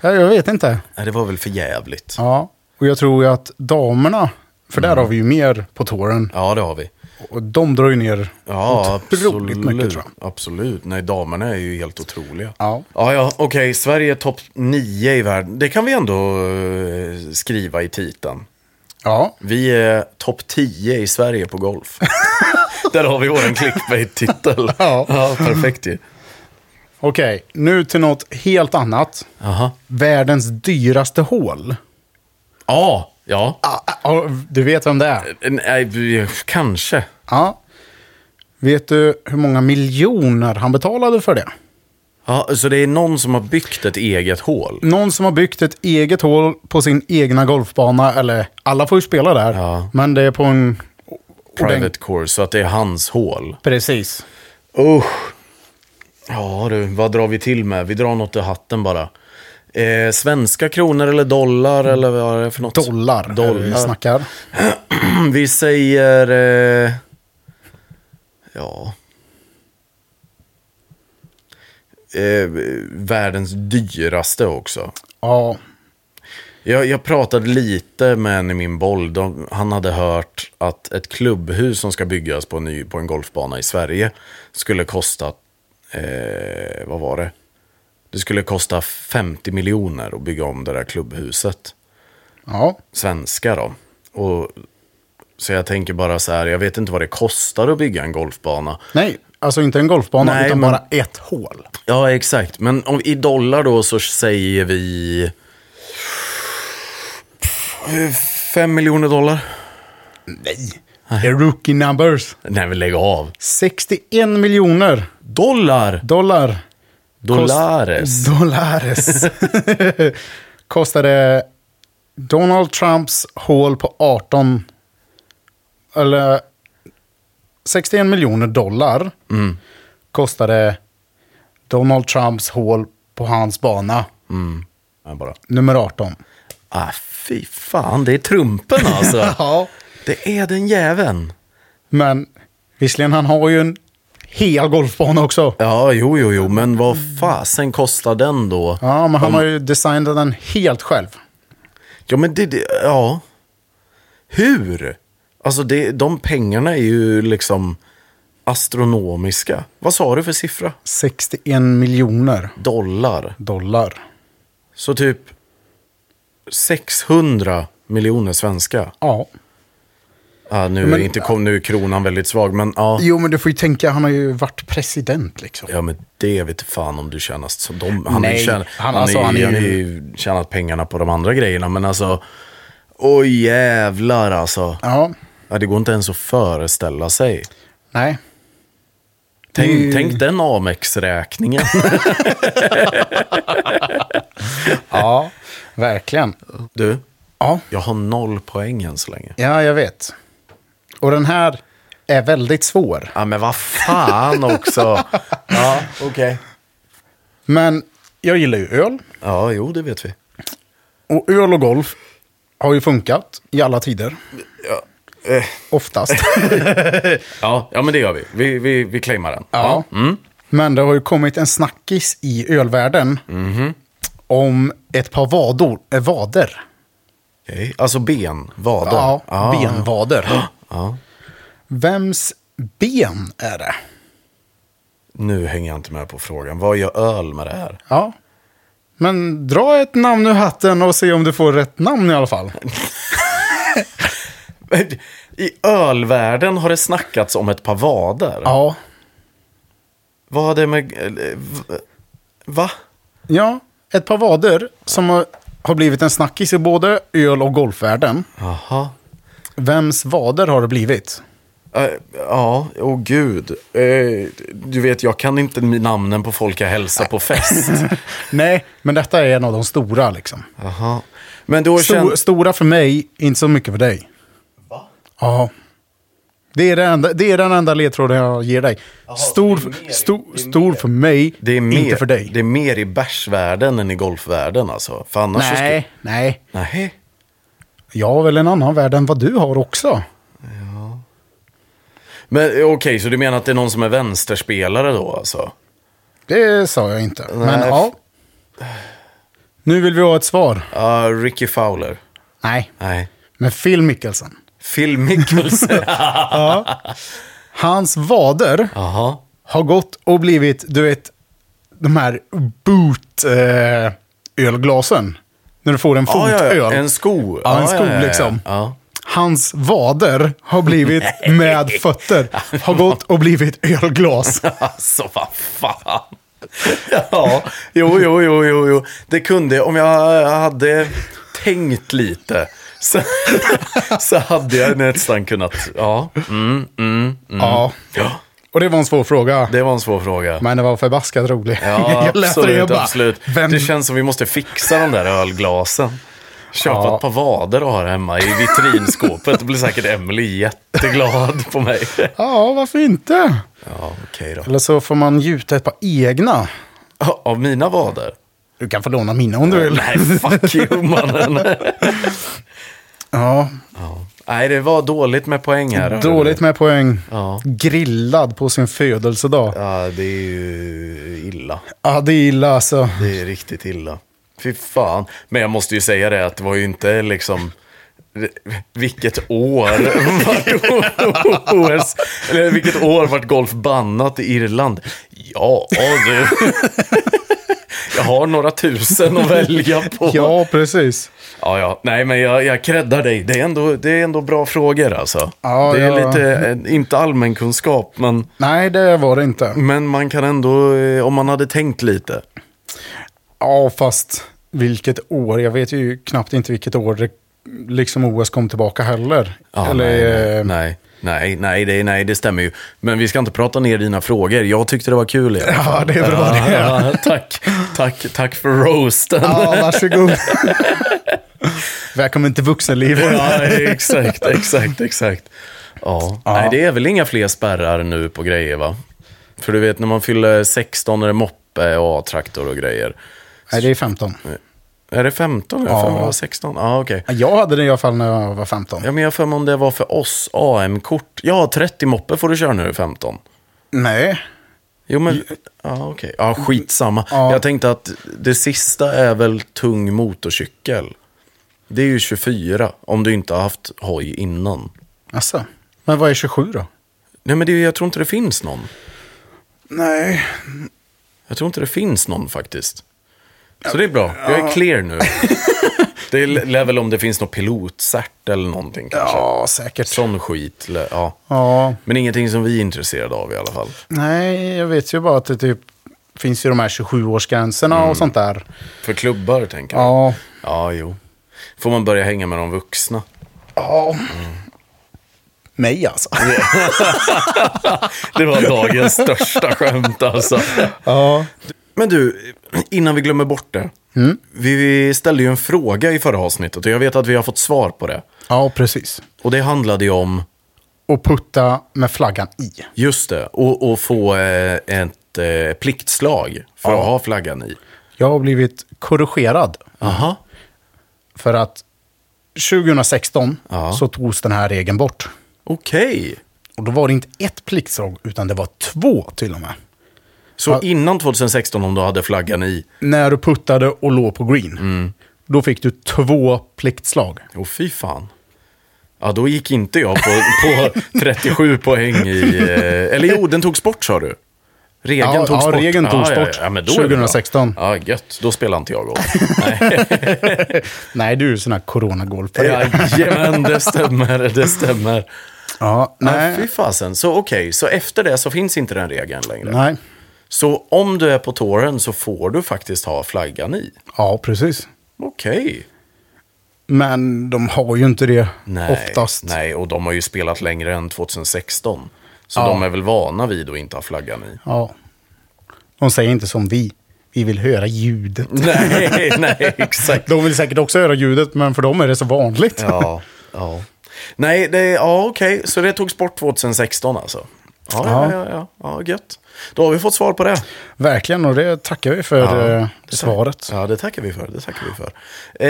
Speaker 1: Ja, Jag vet inte.
Speaker 2: Nej, det var väl för jävligt.
Speaker 1: Ja. Och jag tror ju att damerna, för
Speaker 2: Mm.
Speaker 1: där har vi ju mer på tåren.
Speaker 2: Ja, det har vi.
Speaker 1: Och de drar ju ner
Speaker 2: Ja,
Speaker 1: otroligt
Speaker 2: absolut.
Speaker 1: mycket tror jag.
Speaker 2: Absolut. Nej, damerna är ju helt otroliga.
Speaker 1: Ja.
Speaker 2: Ja, ja okej. Sverige är topp 9 i världen. Det kan vi ändå eh, skriva i titeln.
Speaker 1: Ja.
Speaker 2: Vi är topp 10 i Sverige på golf. Där har vi vår clickbait-titel.
Speaker 1: Ja.
Speaker 2: perfekt ju.
Speaker 1: Okej, nu till något helt annat.
Speaker 2: Aha.
Speaker 1: Världens dyraste hål.
Speaker 2: Ja, ja.
Speaker 1: Ah, ah, du vet vem det är?
Speaker 2: Nej, vi- kanske.
Speaker 1: Ja. Vet du hur många miljoner han betalade för det?
Speaker 2: Ja, så det är någon som har byggt ett eget hål?
Speaker 1: Någon som har byggt ett eget hål på sin egna golfbana, eller alla får ju spela där,
Speaker 2: Ja.
Speaker 1: men det är på en... ordent-
Speaker 2: Private course, så att det är hans hål.
Speaker 1: Precis.
Speaker 2: Usch. Ja du, vad drar vi till med? Vi drar något ur hatten bara. Eh, svenska kronor eller dollar eller vad är det för något?
Speaker 1: Dollar, Dollar. vi
Speaker 2: Dollar.
Speaker 1: snackar.
Speaker 2: Vi säger... Eh, ja... Eh, världens dyraste också.
Speaker 1: Ja,
Speaker 2: Jag, jag pratade lite med en i min boll. De, han hade hört att ett klubbhus som ska byggas på en, ny, på en golfbana i Sverige skulle kosta, eh, vad var det? Det skulle kosta 50 miljoner att bygga om det där klubbhuset.
Speaker 1: Ja.
Speaker 2: Svenska då. Och, så jag tänker bara så här, jag vet inte vad det kostar att bygga en golfbana.
Speaker 1: Nej, alltså inte en golfbana
Speaker 2: Nej,
Speaker 1: utan
Speaker 2: men-
Speaker 1: bara ett hål.
Speaker 2: Ja, exakt. Men om, i dollar då så säger vi... 5 miljoner dollar?
Speaker 1: Nej. Det är rookie numbers.
Speaker 2: Nej, men lägg av.
Speaker 1: 61 miljoner
Speaker 2: Dollar!
Speaker 1: dollar.
Speaker 2: Dollares.
Speaker 1: Dollares. Kostade Donald Trumps hål på 18... Eller 61 miljoner dollar kostade Donald Trumps hål på hans bana,
Speaker 2: Ja, bara.
Speaker 1: nummer 18.
Speaker 2: Ah, fy fan, det är trumpen alltså.
Speaker 1: Ja.
Speaker 2: det är den jäveln.
Speaker 1: Men visserligen, han har ju en hel golfbana också.
Speaker 2: Ja, jo, jo, jo, men vad fasen kostar den då?
Speaker 1: Ja, men han har ju designat den helt själv.
Speaker 2: Ja, men det, det ja. Hur? Alltså, det, de pengarna är ju liksom astronomiska. Vad sa du för siffra?
Speaker 1: 61 miljoner
Speaker 2: Dollar.
Speaker 1: dollar.
Speaker 2: Så typ 600 miljoner svenska.
Speaker 1: Ja.
Speaker 2: Ja, nu,
Speaker 1: Men-
Speaker 2: är inte, kom, nu är kronan väldigt svag, men ja.
Speaker 1: Jo, men du får ju tänka, han har ju varit president liksom.
Speaker 2: Ja, men det vet fan om du tjänar som de. Han har ju
Speaker 1: Nej,
Speaker 2: tjänat,
Speaker 1: han-
Speaker 2: han,
Speaker 1: alltså,
Speaker 2: är,
Speaker 1: han är ju-
Speaker 2: han är ju tjänat pengarna på de andra grejerna, men alltså. Oj jävlar alltså.
Speaker 1: Ja,
Speaker 2: Ja, det går inte ens att föreställa sig.
Speaker 1: nej.
Speaker 2: Tänk,
Speaker 1: Det-
Speaker 2: tänk den Amex-räkningen.
Speaker 1: Ja, verkligen.
Speaker 2: du,
Speaker 1: Ja.
Speaker 2: jag har noll poäng än så länge.
Speaker 1: ja, jag vet. Och den här är väldigt svår.
Speaker 2: Ja, men vad fan också. ja, okej.
Speaker 1: Men jag gillar ju öl.
Speaker 2: Ja, jo, det vet vi.
Speaker 1: Och öl och golf har ju funkat i alla tider.
Speaker 2: eh.
Speaker 1: Oftast.
Speaker 2: Ja, ja men det gör vi. Vi, vi, vi claimar den.
Speaker 1: Ja. Men det har ju kommit en snackis i ölvärlden. Om ett par vador, eh, vader.
Speaker 2: Okej. Alltså ben, vader.
Speaker 1: Ja,
Speaker 2: Ah.
Speaker 1: benvader.
Speaker 2: Ja.
Speaker 1: Vems ben är det?
Speaker 2: Nu hänger jag inte med på frågan. Vad gör öl med det här?
Speaker 1: Ja. Men dra ett namn ur hatten och se om du får rätt namn i alla fall.
Speaker 2: I ölvärlden har det snackats om ett par vader.
Speaker 1: Ja.
Speaker 2: Vad har det med... eller, v- Va?
Speaker 1: Ja, ett par vader som har- har blivit en snackis i både öl och golfvärlden.
Speaker 2: Jaha.
Speaker 1: Vems vader har det blivit?
Speaker 2: Eh, Ja, åh oh, gud. Eh, du vet, jag kan inte namnen på folk jag hälsar på fest.
Speaker 1: Nej, men detta är en av de stora liksom.
Speaker 2: Jaha. Men då
Speaker 1: Stor,
Speaker 2: känns...
Speaker 1: stora för mig, inte så mycket för dig.
Speaker 2: Va?
Speaker 1: Ja. Det är, det, enda, det är den enda ledtråden jag ger dig. Stor,
Speaker 2: det är mer,
Speaker 1: stor,
Speaker 2: det är
Speaker 1: stor för mig,
Speaker 2: Det är mer,
Speaker 1: inte för dig.
Speaker 2: Det är mer i bärsvärlden än i golfvärlden alltså. För annars så skulle-
Speaker 1: Nej, nej.
Speaker 2: Nej.
Speaker 1: Jag har väl en annan värld än vad du har också.
Speaker 2: Men eh, okej, så du menar att det är någon som är vänsterspelare då alltså?
Speaker 1: Det sa jag inte. Men
Speaker 2: Nej.
Speaker 1: ja. Nu vill vi ha ett svar.
Speaker 2: Ja, Ricky Fowler.
Speaker 1: Nej,
Speaker 2: Nej.
Speaker 1: men Phil Mickelson.
Speaker 2: Phil Mickelson.
Speaker 1: Hans vader
Speaker 2: Jaha.
Speaker 1: har gått och blivit, du vet, de här boot-ölglasen. när du får en
Speaker 2: Ja, ja,
Speaker 1: fotöl.
Speaker 2: ja. En sko.
Speaker 1: Ja, en
Speaker 2: Ja,
Speaker 1: sko
Speaker 2: ja, ja, ja.
Speaker 1: liksom.
Speaker 2: Ja.
Speaker 1: Hans vader har blivit med fötter. Har gått och blivit ölglas.
Speaker 2: Alltså, vad fan. Ja, jo, jo, jo, jo, jo. Det kunde, om jag hade tänkt lite, så, så hade jag nästan kunnat, ja. Mm, mm, mm.
Speaker 1: Ja.
Speaker 2: ja.
Speaker 1: Och det var en svår fråga.
Speaker 2: Det var en svår fråga.
Speaker 1: Men det var förbaskat roligt.
Speaker 2: Ja,
Speaker 1: jag lät det,
Speaker 2: absolut,
Speaker 1: jag bara,
Speaker 2: absolut.
Speaker 1: Vem
Speaker 2: Det känns som vi måste fixa de där ölglasen. Köpa
Speaker 1: Ja.
Speaker 2: ett par vader och ha det hemma i vitrinskåpet. Då blir säkert Emily jätteglad på mig.
Speaker 1: Ja, varför inte?
Speaker 2: Ja, okej då.
Speaker 1: Eller så får man gjuta ett par egna.
Speaker 2: Ja, Av mina vader?
Speaker 1: Du kan få låna mina om du vill.
Speaker 2: Nej, fuck you mannen.
Speaker 1: Ja,
Speaker 2: Ja. Nej, det var dåligt med poäng här. hörde
Speaker 1: dåligt med poäng.
Speaker 2: Ja.
Speaker 1: Grillad på sin födelsedag.
Speaker 2: du.
Speaker 1: Ja,
Speaker 2: Ja, det är ju illa.
Speaker 1: det är illa alltså.
Speaker 2: Det är riktigt illa. Fy fan. Men jag måste ju säga det att det var ju inte liksom... Vilket år vart OS... Eller vilket år vart golf bannat i Irland? Ja, du. Jag har några tusen att välja på.
Speaker 1: Ja, precis.
Speaker 2: Ja, ja. Nej, men jag, jag creddar dig. Det är, ändå, det är ändå bra frågor alltså.
Speaker 1: Ja,
Speaker 2: det är
Speaker 1: ja.
Speaker 2: lite, eh, inte allmän kunskap, men,
Speaker 1: Nej, det var det inte.
Speaker 2: men man kan ändå, eh, om man hade tänkt lite.
Speaker 1: Ja, fast vilket år. Jag vet ju knappt inte vilket år det, liksom OS kom tillbaka heller.
Speaker 2: Ja,
Speaker 1: Eller,
Speaker 2: nej,
Speaker 1: eh,
Speaker 2: nej, nej, nej, det, nej, det stämmer ju. Men vi ska inte prata ner dina frågor. Jag tyckte det var kul. i alla fall.
Speaker 1: Ja, det är bra det.
Speaker 2: Ja, tack, tack, tack för roasten.
Speaker 1: Ja, varsågod. Välkommen till vuxenlivet.
Speaker 2: Ja, exakt, exakt, exakt. Ja.
Speaker 1: Ja.
Speaker 2: Nej, det är väl inga fler spärrar nu på grejer, va? För du vet, när man fyller 16 är det moppe och A-traktor och grejer.
Speaker 1: Nej, det är 15.
Speaker 2: Är det 15? Jag har för mig det var 16. Ja, okej.
Speaker 1: Jag hade det i alla fall när jag var 15.
Speaker 2: Ja, men jag har för mig om det var för oss AM-kort. Ja, 30 moppe får du köra nu, 15.
Speaker 1: Nej.
Speaker 2: Jo, men... Ja, okej. Ja, skitsamma.
Speaker 1: Ja.
Speaker 2: Jag tänkte att det sista är väl tung motorcykel. Det är ju 24, om du inte har haft hoj innan.
Speaker 1: Alltså. Men vad är 27 då?
Speaker 2: Nej, men det, är ju- jag tror inte det finns någon.
Speaker 1: Nej.
Speaker 2: Jag tror inte det finns någon faktiskt. Så det är bra. Jag är clear nu. det lär väl om det finns någon pilotcert eller någonting kanske.
Speaker 1: Ja, säkert.
Speaker 2: Sån skit. lä- Ja.
Speaker 1: Ja.
Speaker 2: Men ingenting som vi är intresserade av i alla fall.
Speaker 1: Nej, jag vet ju bara att det typ finns ju de här 27-årsgränserna
Speaker 2: Mm.
Speaker 1: och sånt där.
Speaker 2: För klubbar tänker jag.
Speaker 1: Ja.
Speaker 2: Ja, jo. Får man börja hänga med de vuxna?
Speaker 1: Ja.
Speaker 2: Mm.
Speaker 1: Mig alltså.
Speaker 2: Det var dagens största skämt alltså.
Speaker 1: Ja. Mm.
Speaker 2: Men du, innan vi glömmer bort det. Vi vi ställde ju en fråga i förra avsnittet och jag vet att vi har fått svar på det.
Speaker 1: Ja, precis.
Speaker 2: Och det handlade ju om
Speaker 1: Och putta med flaggan i.
Speaker 2: Just det, och, och få eh, ett eh, pliktslag för
Speaker 1: Ja.
Speaker 2: att ha flaggan i.
Speaker 1: Jag har blivit korrigerad
Speaker 2: Aha.
Speaker 1: för att 2016
Speaker 2: Ja.
Speaker 1: så togs den här regeln bort.
Speaker 2: Okej.
Speaker 1: Och då var det inte ett pliktslag, utan det var två till och med.
Speaker 2: Så innan 2016 om du hade flaggan i.
Speaker 1: När du puttade och låg på green,
Speaker 2: Mm.
Speaker 1: då fick du två pliktslag.
Speaker 2: Åh fy fan. Ja, då gick inte jag på, på 37 poäng i... Eh, eller jo, den togs bort sa du. Regeln
Speaker 1: Ja,
Speaker 2: togs
Speaker 1: ja,
Speaker 2: bort.
Speaker 1: regeln togs
Speaker 2: ja, ja,
Speaker 1: bort
Speaker 2: ja, men då är det bra.
Speaker 1: 2016.
Speaker 2: Ja, gött. Då spelar inte jag golf.
Speaker 1: Nej, du är ju sån här coronagolfare.
Speaker 2: Jajamän, det stämmer. Det stämmer.
Speaker 1: Ja,
Speaker 2: Nej.
Speaker 1: nej.
Speaker 2: Fy fasen. Så okej, så efter det så finns inte den regeln längre.
Speaker 1: Nej.
Speaker 2: Så om du är på tåren så får du faktiskt ha flaggan i.
Speaker 1: Ja, precis.
Speaker 2: Okej.
Speaker 1: Men de har ju inte det
Speaker 2: Nej,
Speaker 1: oftast.
Speaker 2: Nej, och de har ju spelat längre än 2016. Så
Speaker 1: Ja.
Speaker 2: de är väl vana vid att inte ha flaggan i.
Speaker 1: Ja. De säger inte som vi. Vi vill höra ljudet.
Speaker 2: Nej, nej, exakt.
Speaker 1: De vill säkert också höra ljudet, men för dem är det så vanligt.
Speaker 2: Ja, ja. Nej, det, ja okej. Så det togs bort 2016 alltså. Ja,
Speaker 1: Ja.
Speaker 2: ja, ja, ja, ja, gött. Då har vi fått svar på det.
Speaker 1: Verkligen, och det tackar vi för
Speaker 2: Ja,
Speaker 1: eh, svaret.
Speaker 2: Ja, det tackar vi för. Det tackar vi för. Eh,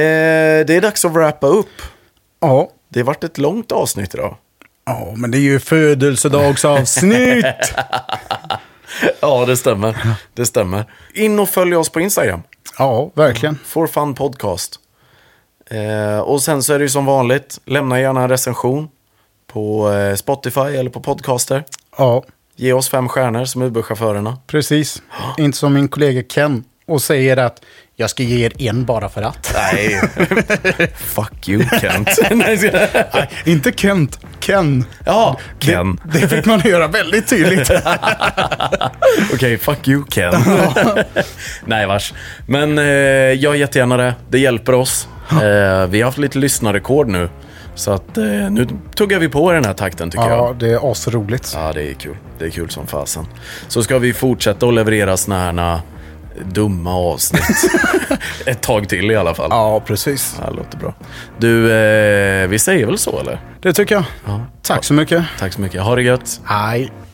Speaker 2: det är dags att wrappa upp.
Speaker 1: Ja.
Speaker 2: Det vart ett långt avsnitt idag.
Speaker 1: ja, men det är ju födelsedagsavsnitt.
Speaker 2: Ja, det stämmer. Det stämmer. In och följ oss på Instagram.
Speaker 1: ja, verkligen.
Speaker 2: For Fun Podcast. Eh, och sen så är det ju som vanligt, lämna gärna en recension på eh, Spotify eller på Podcaster.
Speaker 1: Ja,
Speaker 2: Ge oss fem stjärnor som Uber-chaufförerna.
Speaker 1: precis. Inte som min kollega Ken och säger att jag ska ge er en bara för att.
Speaker 2: Nej. Fuck you, Kent. Nej, ska-
Speaker 1: Nej, inte Kent. Ken.
Speaker 2: ja, Ken.
Speaker 1: Det, det fick man höra väldigt tydligt.
Speaker 2: Okej, fuck you, Ken. Nej, vars. Men eh, jag jättegärna det. Det hjälper oss. Eh, vi har haft lite lyssnarrekord nu. Så att eh, nu tuggar vi på i den här takten, tycker jag.
Speaker 1: Ja, det är asroligt.
Speaker 2: Ja, det är kul. Det är kul som fasen. Så ska vi fortsätta att leverera såna här eh, dumma avsnitt. Ett tag till i alla fall. Ja.
Speaker 1: Ja, precis.
Speaker 2: Det här låter bra. Du, eh, vi säger väl så eller?
Speaker 1: Det tycker jag. Tack så mycket.
Speaker 2: Tack så mycket. Ha det gött.
Speaker 1: Hej.